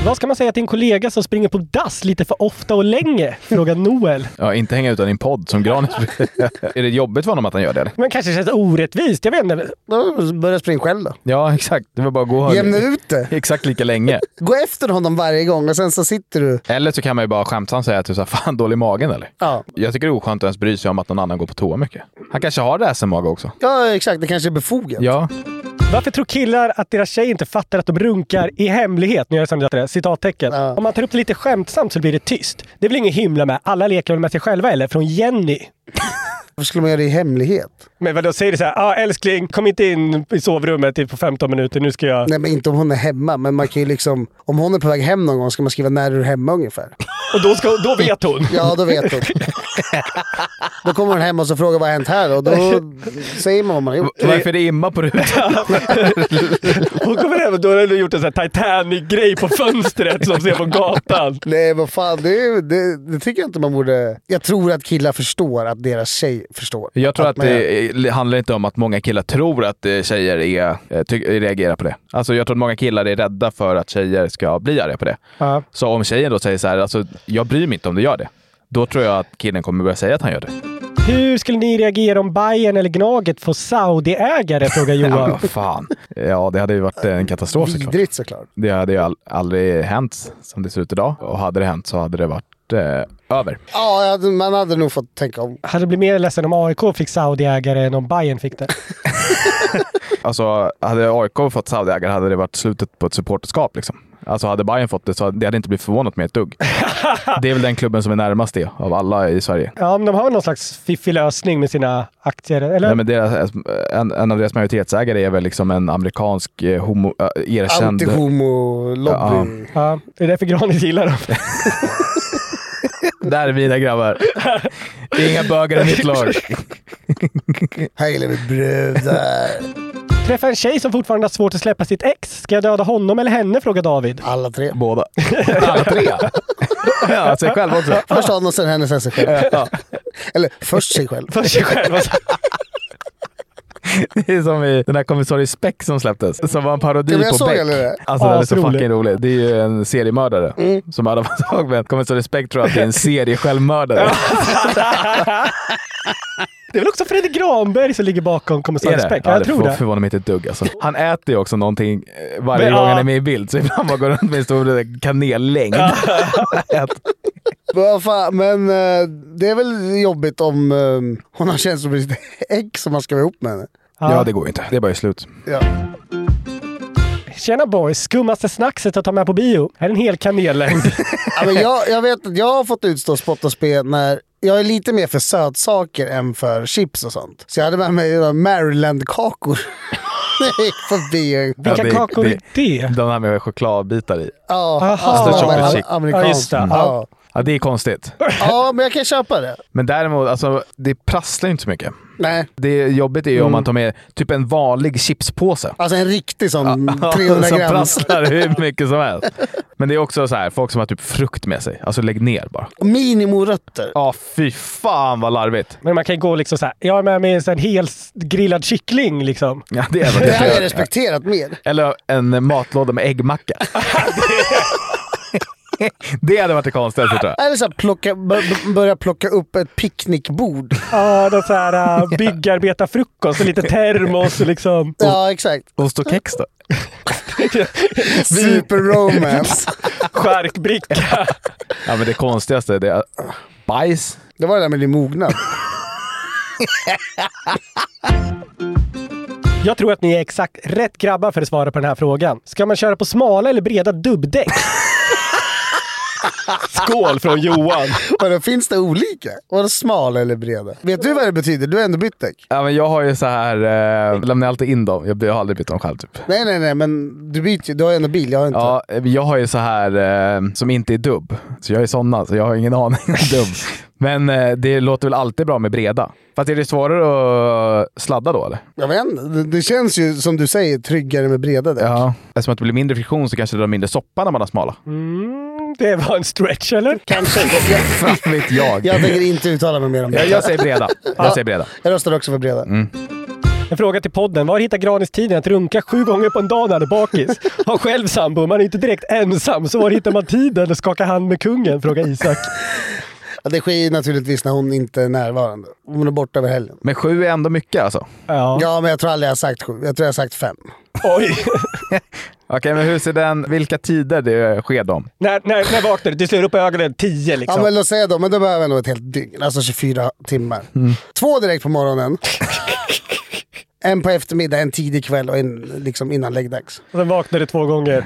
Speaker 2: Vad ska man säga till en kollega som springer på dass lite för ofta och länge? Frågar Noel.
Speaker 1: Ja, inte hänga utan din podd som Granis Är det jobbigt för honom att han gör det? eller?
Speaker 2: Men kanske känns orättvist. Jag vet inte.
Speaker 3: Då Börja springa själv då.
Speaker 1: Ja, exakt. Det var bara att gå
Speaker 3: Jämna ut det.
Speaker 1: exakt lika länge.
Speaker 3: Gå efter honom varje gång och sen så sitter du...
Speaker 1: Eller så kan man ju bara skämtsamt säga att du sa fan dålig i magen eller?
Speaker 3: Ja.
Speaker 1: Jag tycker det är oskönt att ens bry sig om att någon annan går på toa mycket. Han kanske har det här sen mage också.
Speaker 3: Ja, exakt. Det kanske är befogat.
Speaker 1: Ja.
Speaker 2: Varför tror killar att deras tjej inte fattar att de runkar i hemlighet? Nu gör jag sådana där citattecken.
Speaker 3: Ja.
Speaker 2: Om man tar upp det lite skämtsamt så blir det tyst. Det är väl ingen himla med. Alla leker väl med sig själva eller? Från Jenny.
Speaker 3: Varför skulle man göra det i hemlighet?
Speaker 2: Men vadå, säger du såhär ah, älskling, kom inte in i sovrummet typ på 15 minuter, nu ska jag...
Speaker 1: Alltså-
Speaker 3: Nej, men inte om hon är hemma. Men man kan ju liksom... Om hon är på väg hem någon gång ska man skriva när du är hemma ungefär.
Speaker 2: Och då, ska, då vet hon.
Speaker 3: Ja, då vet hon. Då kommer hon hem och så frågar vad har hänt här och då säger man vad man har gjort.
Speaker 1: Varför är det imma på rutan?
Speaker 2: Hon kommer hem och då har du gjort en sån här Titanic-grej på fönstret som ser på gatan.
Speaker 3: Nej, vad fan. Det, är- det, det tycker jag inte man borde... Jag tror att killar förstår att deras tjej förstår.
Speaker 1: Jag tror att
Speaker 3: man gör-
Speaker 1: det är- handlar inte om att många killar tror att eh, tjejer är, eh, ty- reagerar på det. Alltså jag tror att många killar är rädda för att tjejer ska bli arga på det.
Speaker 2: Ja.
Speaker 1: Så om tjejen då säger så här, alltså, jag bryr mig inte om du gör det. Då tror jag att killen kommer börja säga att han gör det.
Speaker 2: Hur skulle ni reagera om Bayern eller Gnaget får Saudi-ägare? Frågar
Speaker 1: Ja, men
Speaker 2: Johan.
Speaker 1: vad fan. Ja, det hade ju varit en katastrof såklart.
Speaker 3: Vidrigt såklart.
Speaker 1: Det hade ju all- aldrig hänt som det ser ut idag. Och hade det hänt så hade det varit snart eh, över.
Speaker 3: Ja, jag hade- man hade nog fått tänka om.
Speaker 2: Hade blivit mer ledsen om AIK fick Saudi-ägare än om Bayern fick det.
Speaker 1: Alltså, hade AIK fått Saudi-ägare hade det varit slutet på ett supporterskap. Liksom. Alltså, hade Bayern fått det så hade det hade inte blivit förvånat mig ett dugg. Det är väl den klubben som är närmast det av alla i Sverige.
Speaker 2: Ja, men de har väl någon slags fiffig lösning med sina aktier, eller?
Speaker 1: Nej, men deras, en, en av deras majoritetsägare är väl liksom en amerikansk eh, homo, äh, erkänd...
Speaker 3: Anti-homo-lobby.
Speaker 2: Ja, det är därför Granit gillar dem.
Speaker 1: Där är mina grabbar. Inga bögar i mitt lag.
Speaker 3: Här gillar vi brudar.
Speaker 2: Träffa en tjej som fortfarande har svårt att släppa sitt ex. Ska jag döda honom eller henne? Frågar David.
Speaker 3: Alla tre.
Speaker 1: Båda. Alla tre? Ja, sig själv också.
Speaker 3: Först honom, sen henne, sen sig själv. Eller först sig själv.
Speaker 2: För sig själv. alltså.
Speaker 1: Det är som i den här kommissarie Speck som släpptes, som var en parodi
Speaker 3: Ja, men jag
Speaker 1: på
Speaker 3: såg
Speaker 1: Beck.
Speaker 3: aldrig det. Mm.
Speaker 1: Alltså den är så
Speaker 2: Asrolig.
Speaker 1: fucking rolig. Det är ju en seriemördare som alla var tag med. Kommissarie Speck tror att det är en seriesjälvmördare.
Speaker 2: Det är väl också Fredrik Granberg som ligger bakom
Speaker 1: Är
Speaker 2: kommissarie
Speaker 1: det?
Speaker 2: Speck?
Speaker 1: Ja, det
Speaker 2: Ja, jag tror
Speaker 1: förvå-
Speaker 2: det.
Speaker 1: förvånar mig inte ett dugg. Alltså. Han äter ju också någonting eh, varje
Speaker 2: Men,
Speaker 1: gång
Speaker 2: ja.
Speaker 1: han är med i bild, så ibland bara går runt med en stor kanellängd. Ät-
Speaker 3: Men vad fan, Men eh, det är väl jobbigt om eh, hon har känslor för sitt ex som man ska vara ihop med henne.
Speaker 1: ja, det går ju inte. Det är bara slut.
Speaker 3: Ja.
Speaker 2: Tjena boys! Skummaste snackset att ta med på bio. Här är en hel kanellängd.
Speaker 3: Ja, men jag, jag vet att jag har fått utstå spott och spe när jag är lite mer för sötsaker än för chips och sånt. Så jag hade med mig några Maryland-kakor när jag gick på bio.
Speaker 2: Vilka
Speaker 1: Ja, det-
Speaker 2: kakor är det?
Speaker 1: De här med chokladbitar i.
Speaker 3: Ja,
Speaker 2: Aha.
Speaker 3: alltså,
Speaker 2: Mr.
Speaker 1: Chocolate Chick.
Speaker 3: amerikanskt.
Speaker 2: Ja, just det.
Speaker 3: Ja.
Speaker 1: Ja, det är konstigt.
Speaker 3: ja, men jag kan köpa det.
Speaker 1: Men däremot, alltså, det prasslar ju inte så mycket.
Speaker 3: Nej,
Speaker 1: Det jobbigt är ju om man tar med typ en vanlig chipspåse.
Speaker 3: alltså en riktig sån
Speaker 1: Ja,
Speaker 3: 300
Speaker 1: som
Speaker 3: gram.
Speaker 1: prasslar hur mycket som helst. Men det är också så här, folk som har typ frukt med sig. Alltså lägg ner bara.
Speaker 3: Minimorötter.
Speaker 1: Ja, fy fan vad larvigt.
Speaker 2: Men man kan ju gå liksom så här. Jag har med mig en sån här hel s- grillad kyckling liksom.
Speaker 1: Ja, det är vad
Speaker 3: Det
Speaker 1: det
Speaker 3: hade jag
Speaker 1: är.
Speaker 3: respekterat mer.
Speaker 1: Eller en matlåda med äggmacka. det hade varit det konstigaste tror jag.
Speaker 3: Eller så här, plocka, bör, bör- börja plocka upp ett picknickbord.
Speaker 2: Ja, någon sån här uh, byggarbetarfrukost och lite termos och liksom.
Speaker 3: Ja, exakt.
Speaker 1: Ost och kex då?
Speaker 3: Super romance.
Speaker 2: Charkbricka.
Speaker 1: Ja, men det konstigaste det är bajs.
Speaker 3: Det var det där med din mognad.
Speaker 2: Jag tror att ni är exakt rätt grabbar för att svara på den här frågan. Ska man köra på smala eller breda dubbdäck? Skål från Johan!
Speaker 3: Vadå, finns det olika? Vadå smala eller breda? Vet du vad det betyder? Du har ändå bytt däck.
Speaker 1: Ja, men jag har ju så här, eh, lämnar alltid in dem. Jag, jag har aldrig bytt dem själv typ.
Speaker 3: Nej, nej, nej, men du byter ju. Du har ju ändå bil, jag har inte.
Speaker 1: Ja, jag har ju så här eh, som inte är dubb. Så jag är sådana, så jag har ingen aning om dubb. Men eh, det låter väl alltid bra med breda. Fast är det svårare att sladda då eller?
Speaker 3: Jag vet inte. Det, det känns ju som du säger tryggare med breda däck.
Speaker 1: Ja. Eftersom att det blir mindre friktion så kanske det drar mindre soppa när man har smala.
Speaker 2: Det var en stretch, eller? Kanske.
Speaker 1: Fan vet jag.
Speaker 3: Jag tänker inte uttala mig mer om
Speaker 1: Jag,
Speaker 3: det.
Speaker 1: jag säger breda. Jag säger breda.
Speaker 3: Jag röstar också för breda.
Speaker 2: En fråga till podden. Var hittar Granis tiden att runka sju gånger på en dag när han är bakis? Har själv sambo, man är inte direkt ensam. Så var hittar man tiden att skaka hand med kungen? Frågar Isak.
Speaker 3: Ja, det sker ju naturligtvis när hon inte är närvarande. Hon är borta över helgen.
Speaker 1: Men sju är ändå mycket alltså.
Speaker 2: Ja.
Speaker 3: Ja, men jag tror aldrig jag har sagt sju. Jag tror jag har sagt fem.
Speaker 2: Oj!
Speaker 1: Okej, men hur ser den, vilka tider det sker då?
Speaker 2: när, när, när vaknar du? Du slår upp ögonen tio liksom.
Speaker 3: Ja, men låt säga då. Men då behöver jag nog ett helt dygn. Alltså 24 timmar.
Speaker 1: Mm.
Speaker 3: Två direkt på morgonen. en på eftermiddag, en tidig kväll och en liksom innan läggdags.
Speaker 2: Sen vaknar du två gånger.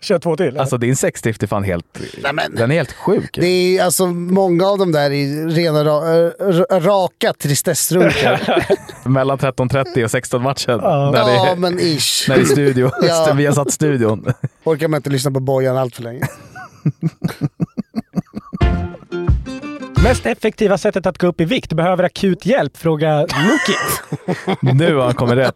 Speaker 2: Kör två till.
Speaker 1: Alltså din sexdrift är fan helt...
Speaker 3: Nej, men-
Speaker 1: Den är helt sjuk.
Speaker 3: Det är ju- alltså många av dem där är rena ra, eh, ra- raka tristessrunkar.
Speaker 1: Mellan 13.30 och 16 matchen. När det
Speaker 3: ja,
Speaker 1: är,
Speaker 3: men ish.
Speaker 1: när det är studio.
Speaker 3: Ja.
Speaker 1: Vi har satt studion.
Speaker 3: Orkar man inte lyssna på Bojan allt för länge.
Speaker 2: Mest effektiva sättet att gå upp i vikt behöver akut hjälp? Fråga Mookie.
Speaker 1: Nu har han kommit rätt.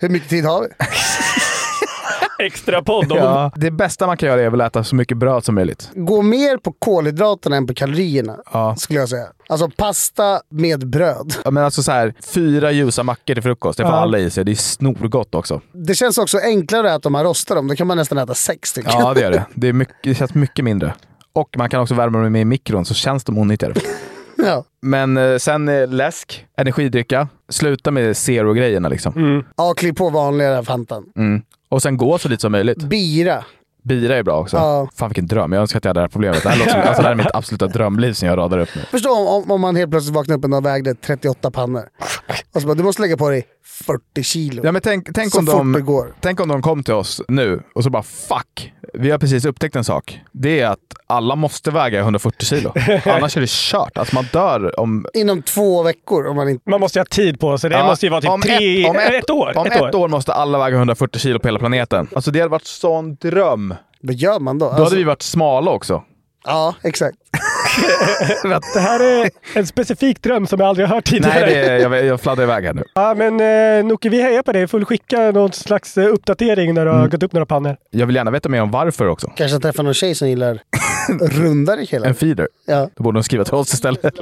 Speaker 3: Hur mycket tid har vi?
Speaker 2: Extra podd om...
Speaker 1: Ja. Det bästa man kan göra är väl att äta så mycket bröd som möjligt.
Speaker 3: Gå mer på kolhydraterna än på kalorierna,
Speaker 1: Ja.
Speaker 3: skulle jag säga. Alltså pasta med bröd.
Speaker 1: Ja, Men alltså så här, fyra ljusa mackor till frukost, det får
Speaker 2: Ja.
Speaker 1: alla i sig. Det är snorgott också.
Speaker 3: Det känns också enklare att om man rostar dem, då kan man nästan äta sex stycken.
Speaker 1: Ja, det gör det. Det, är mycket, det känns mycket mindre. Och man kan också värma dem i mikron så känns de onyttigare.
Speaker 3: Ja.
Speaker 1: Men eh, sen eh, läsk, energidricka, sluta med zero-grejerna liksom. Mm.
Speaker 3: Ja, klipp på vanligare Fantan.
Speaker 1: Och sen gå så lite som möjligt.
Speaker 3: Bira.
Speaker 1: Bira är bra också.
Speaker 3: Ja.
Speaker 1: Fan vilken dröm. Jag önskar att jag hade det här problemet. Det här, låter som, alltså, det här är mitt absoluta drömliv som jag radar upp nu.
Speaker 3: Förstå om- om, om man helt plötsligt vaknar upp en dag och vägde 38 pannor. Och så bara, du måste lägga på dig 40 kilo.
Speaker 1: Ja, men tänk, tänk,
Speaker 3: Så
Speaker 1: om
Speaker 3: fort det
Speaker 1: de,
Speaker 3: går.
Speaker 1: tänk om de kom till oss nu och så bara fuck, vi har precis upptäckt en sak. Det är att alla måste väga 140 kilo. Annars är det kört. Alltså man dör om...
Speaker 3: Inom två veckor om man inte...
Speaker 2: Man måste ju ha tid på sig. Det
Speaker 1: Ja,
Speaker 2: måste ju vara typ
Speaker 1: om
Speaker 2: tre,
Speaker 1: om
Speaker 2: ett, år.
Speaker 1: Om ett, år. måste alla väga 140 kilo på hela planeten. Alltså det hade varit sån dröm.
Speaker 3: Vad gör man då?
Speaker 1: Då
Speaker 3: Alltså-
Speaker 1: hade vi varit smala också.
Speaker 3: Ja, exakt.
Speaker 2: Det här är en specifik dröm som jag aldrig har hört tidigare.
Speaker 1: Nej, det är, jag, jag fladdrar iväg här nu.
Speaker 2: Ja, men eh, Noki, vi hejar på dig. Får du skicka någon slags eh, uppdatering när du
Speaker 1: Mm.
Speaker 2: har gått upp några pannor?
Speaker 1: Jag vill gärna veta mer om varför också.
Speaker 3: Kanske träffa någon tjej som gillar rundare killar.
Speaker 1: En feeder.
Speaker 3: Ja.
Speaker 1: Då borde de skriva till oss istället.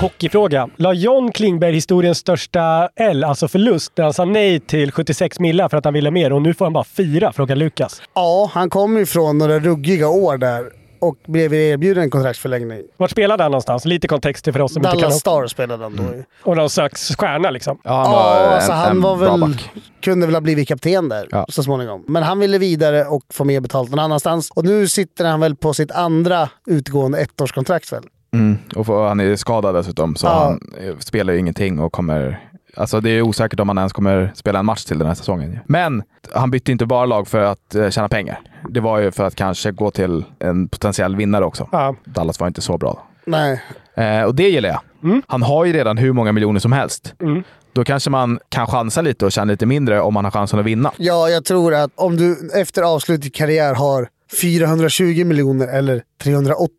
Speaker 2: Hockeyfråga. La John Klingberg historiens största L, alltså förlust, när han sa nej till 76 millar för att han ville mer och nu får han bara fyra? Frågar Lukas.
Speaker 3: Ja, han kom ju från några ruggiga år där och blev erbjuden en kontraktsförlängning.
Speaker 2: Vart spelade han någonstans? Lite kontext till för oss som inte kan...
Speaker 3: Dallas Stars spelade han då ju.
Speaker 2: Och någon slags stjärna liksom.
Speaker 1: Ja, han
Speaker 3: Ja,
Speaker 1: var
Speaker 3: alltså
Speaker 1: en,
Speaker 3: han
Speaker 1: en
Speaker 3: var
Speaker 1: bra
Speaker 3: väl,
Speaker 1: back.
Speaker 3: kunde väl ha blivit kapten där
Speaker 1: Ja.
Speaker 3: så småningom. Men han ville vidare och få mer betalt någon annanstans. Och nu sitter han väl på sitt andra utgående ettårskontrakt väl?
Speaker 1: Mm. Och för, han är skadad dessutom, så
Speaker 3: Ja.
Speaker 1: han eh, spelar ju ingenting och kommer... Alltså det är osäkert om han ens kommer spela en match till den här säsongen. ju. Men han bytte inte bara lag för att eh, tjäna pengar. Det var ju för att kanske gå till en potentiell vinnare också.
Speaker 2: Ja.
Speaker 1: Dallas var inte så bra.
Speaker 3: Nej.
Speaker 1: Eh, och det gillar jag.
Speaker 3: Mm.
Speaker 1: Han har ju redan hur många miljoner som helst. Då kanske man kan chansa lite och tjäna lite mindre om man har chansen att vinna.
Speaker 3: Ja, jag tror att om du efter avslutad karriär har 420 miljoner eller 380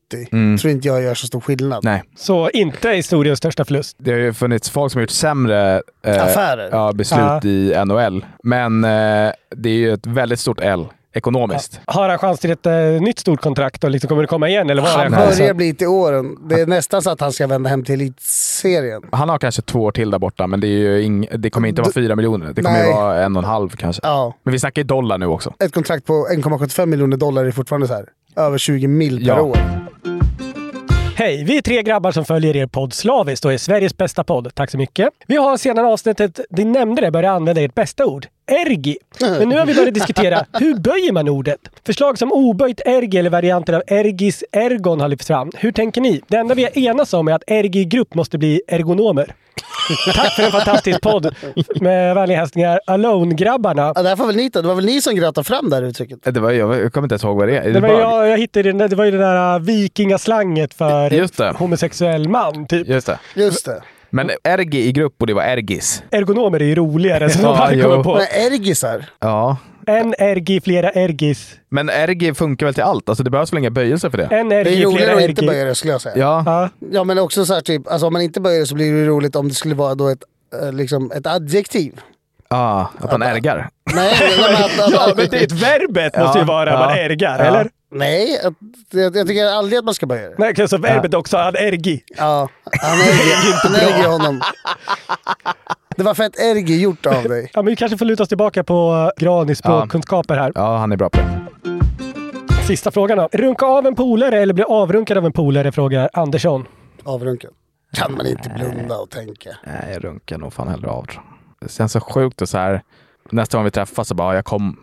Speaker 3: tror inte jag gör så stor skillnad.
Speaker 1: Mm. Nej.
Speaker 2: Så inte historiens största förlust.
Speaker 1: Det har ju funnits folk som har gjort sämre eh,
Speaker 3: Affärer.
Speaker 1: Ja, beslut
Speaker 2: Ja.
Speaker 1: i NHL. Men eh, det är ju ett väldigt stort L ekonomiskt.
Speaker 2: Har han chans till ett eh, nytt stort kontrakt och liksom kommer det komma igen? Eller vad
Speaker 3: Han
Speaker 2: är chansen?
Speaker 1: alltså-
Speaker 3: börjar bli till åren. Det är nästan så att han ska vända hem till elitserien.
Speaker 1: Han har kanske två år till där borta, men det, är ju ing- det kommer inte vara fyra miljoner. Det kommer
Speaker 3: Nej.
Speaker 1: ju vara en och en halv kanske.
Speaker 3: Ja.
Speaker 1: Men vi snackar ju dollar nu också.
Speaker 3: Ett kontrakt på 1,75 miljoner dollar är fortfarande så här. Över 20 mil per
Speaker 1: Ja.
Speaker 3: år.
Speaker 2: Hej! Vi är tre grabbar som följer er podd slaviskt och är Sveriges bästa podd. Tack så mycket. Vi har sedan avsnittet ni nämnde det börjat använda ert bästa ord. Ergi. Men nu har vi börjat diskutera hur böjer man ordet? Förslag som oböjt ergi eller varianter av ergis ergon har lyfts fram. Hur tänker ni? Det enda vi har enats om är att ergi grupp måste bli ergonomer. Tack för en fantastisk podd. Med vänliga hälsningar Alone-grabbarna.
Speaker 3: Ja, därför väl ni ta. Det var väl ni som grötade fram det här uttrycket?
Speaker 1: Eh, Det var, jag, jag kommer inte ens ihåg vad det är. är.
Speaker 2: Det
Speaker 1: det
Speaker 2: var,
Speaker 1: bög?
Speaker 2: jag, jag hittade den, där- det var ju det där äh, vikingaslanget för
Speaker 1: Just det.
Speaker 2: homosexuell man. Typ.
Speaker 1: Just det.
Speaker 3: Just det.
Speaker 1: Men ergi i grupp och det var ergis.
Speaker 2: Ergonomer är ju roligare, så
Speaker 1: Ja,
Speaker 2: de hade
Speaker 1: jo.
Speaker 2: kommit på.
Speaker 3: Men ergisar?
Speaker 1: Ja.
Speaker 2: En ergi, flera ergis.
Speaker 1: Men ergi funkar väl till allt? Alltså det behövs väl inga böjelser för det?
Speaker 2: En
Speaker 3: Det är
Speaker 2: ergi,
Speaker 3: roligare
Speaker 2: flera
Speaker 3: att inte
Speaker 2: ergi.
Speaker 3: böja det skulle jag säga.
Speaker 1: Ja.
Speaker 2: Ja.
Speaker 3: Ja, men också så här typ, alltså om man inte böjer det så blir det ju roligt om det skulle vara då ett, eh, liksom ett adjektiv.
Speaker 1: Ah, att man ärgar.
Speaker 3: Nej, nej, men att, att,
Speaker 2: ja,
Speaker 3: att,
Speaker 2: men det, verbet måste ju
Speaker 1: Ja,
Speaker 2: vara
Speaker 1: ja,
Speaker 2: man ergar,
Speaker 1: ja.
Speaker 2: eller?
Speaker 3: nej att, jag, jag tycker aldrig att man ska böja det.
Speaker 2: Nej, så verbet också, han ergi.
Speaker 3: Ja, han äger, han äger honom. Det var fett ergi gjort av dig.
Speaker 2: Ja, men vi kanske får luta oss tillbaka på eh, Granis språkkunskaper här.
Speaker 1: Ja, han är bra på det.
Speaker 2: Sista frågan då. Runka av en polare eller bli avrunkad av en polare? Frågar Andersson.
Speaker 3: Avrunken. Kan man inte blunda och tänka.
Speaker 1: Nej, jag runkar nog fan hellre av. tror jag. Det känns så sjukt och så här. Nästa gång vi träffas så bara, ja, jag kom.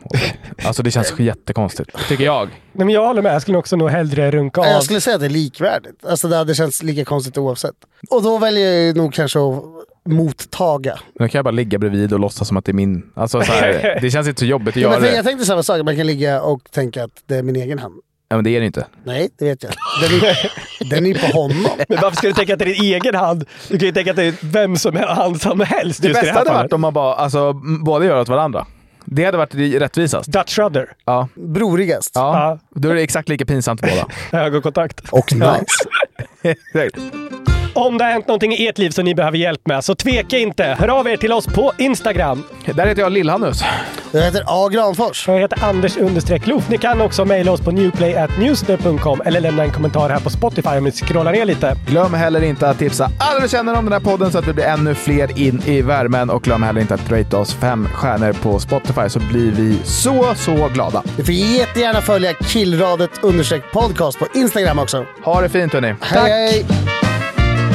Speaker 1: Alltså det känns jättekonstigt, tycker jag.
Speaker 2: Nej, men jag håller med. Jag skulle också nog hellre runka av.
Speaker 3: Jag skulle säga att det är likvärdigt. Alltså det hade känts lika konstigt oavsett. Och då väljer jag ju nog kanske att mottaga.
Speaker 1: Nu kan jag bara ligga bredvid och låtsas som att det är min. Alltså så här, det känns inte så jobbigt att
Speaker 3: Ja,
Speaker 1: göra
Speaker 3: men för
Speaker 1: det.
Speaker 3: jag tänkte samma sak, man kan ligga och tänka att det är min egen hand.
Speaker 1: Ja, men det är det inte.
Speaker 3: Nej, det vet jag. Den är, den är ju på honom.
Speaker 2: Men varför ska du tänka att det är din egen hand? Du kan ju tänka att det är vem som helst, hand som helst.
Speaker 1: Det
Speaker 2: just i
Speaker 1: bästa
Speaker 2: här
Speaker 1: hade
Speaker 2: fallet.
Speaker 1: varit om man bara, alltså m- båda gör åt varandra. Det hade varit det rättvisast.
Speaker 2: Dutch rudder.
Speaker 1: Ja.
Speaker 3: Brorigast.
Speaker 1: ja.
Speaker 2: Ja.
Speaker 1: Då är det exakt lika pinsamt för båda.
Speaker 2: Ögonkontakt.
Speaker 3: Och nice.
Speaker 1: Exakt.
Speaker 2: Om det har hänt någonting i ert liv som ni behöver hjälp med, så tveka inte. Hör av er till oss på Instagram.
Speaker 1: Där heter jag Lillhannes.
Speaker 3: Jag heter A. Granfors.
Speaker 2: Jag heter Anders understreck Loof. Ni kan också mejla oss på newplay.newsday.com eller lämna en kommentar här på Spotify om ni scrollar ner lite.
Speaker 1: Glöm heller inte att tipsa alla du känner om den här podden så att vi blir ännu fler in i värmen. Och glöm heller inte att rate oss fem stjärnor på Spotify så blir vi så, så glada.
Speaker 3: Du får jättegärna följa killradet understreck podcast på Instagram också.
Speaker 1: Ha det fint hörni.
Speaker 3: Hej, hej.
Speaker 8: even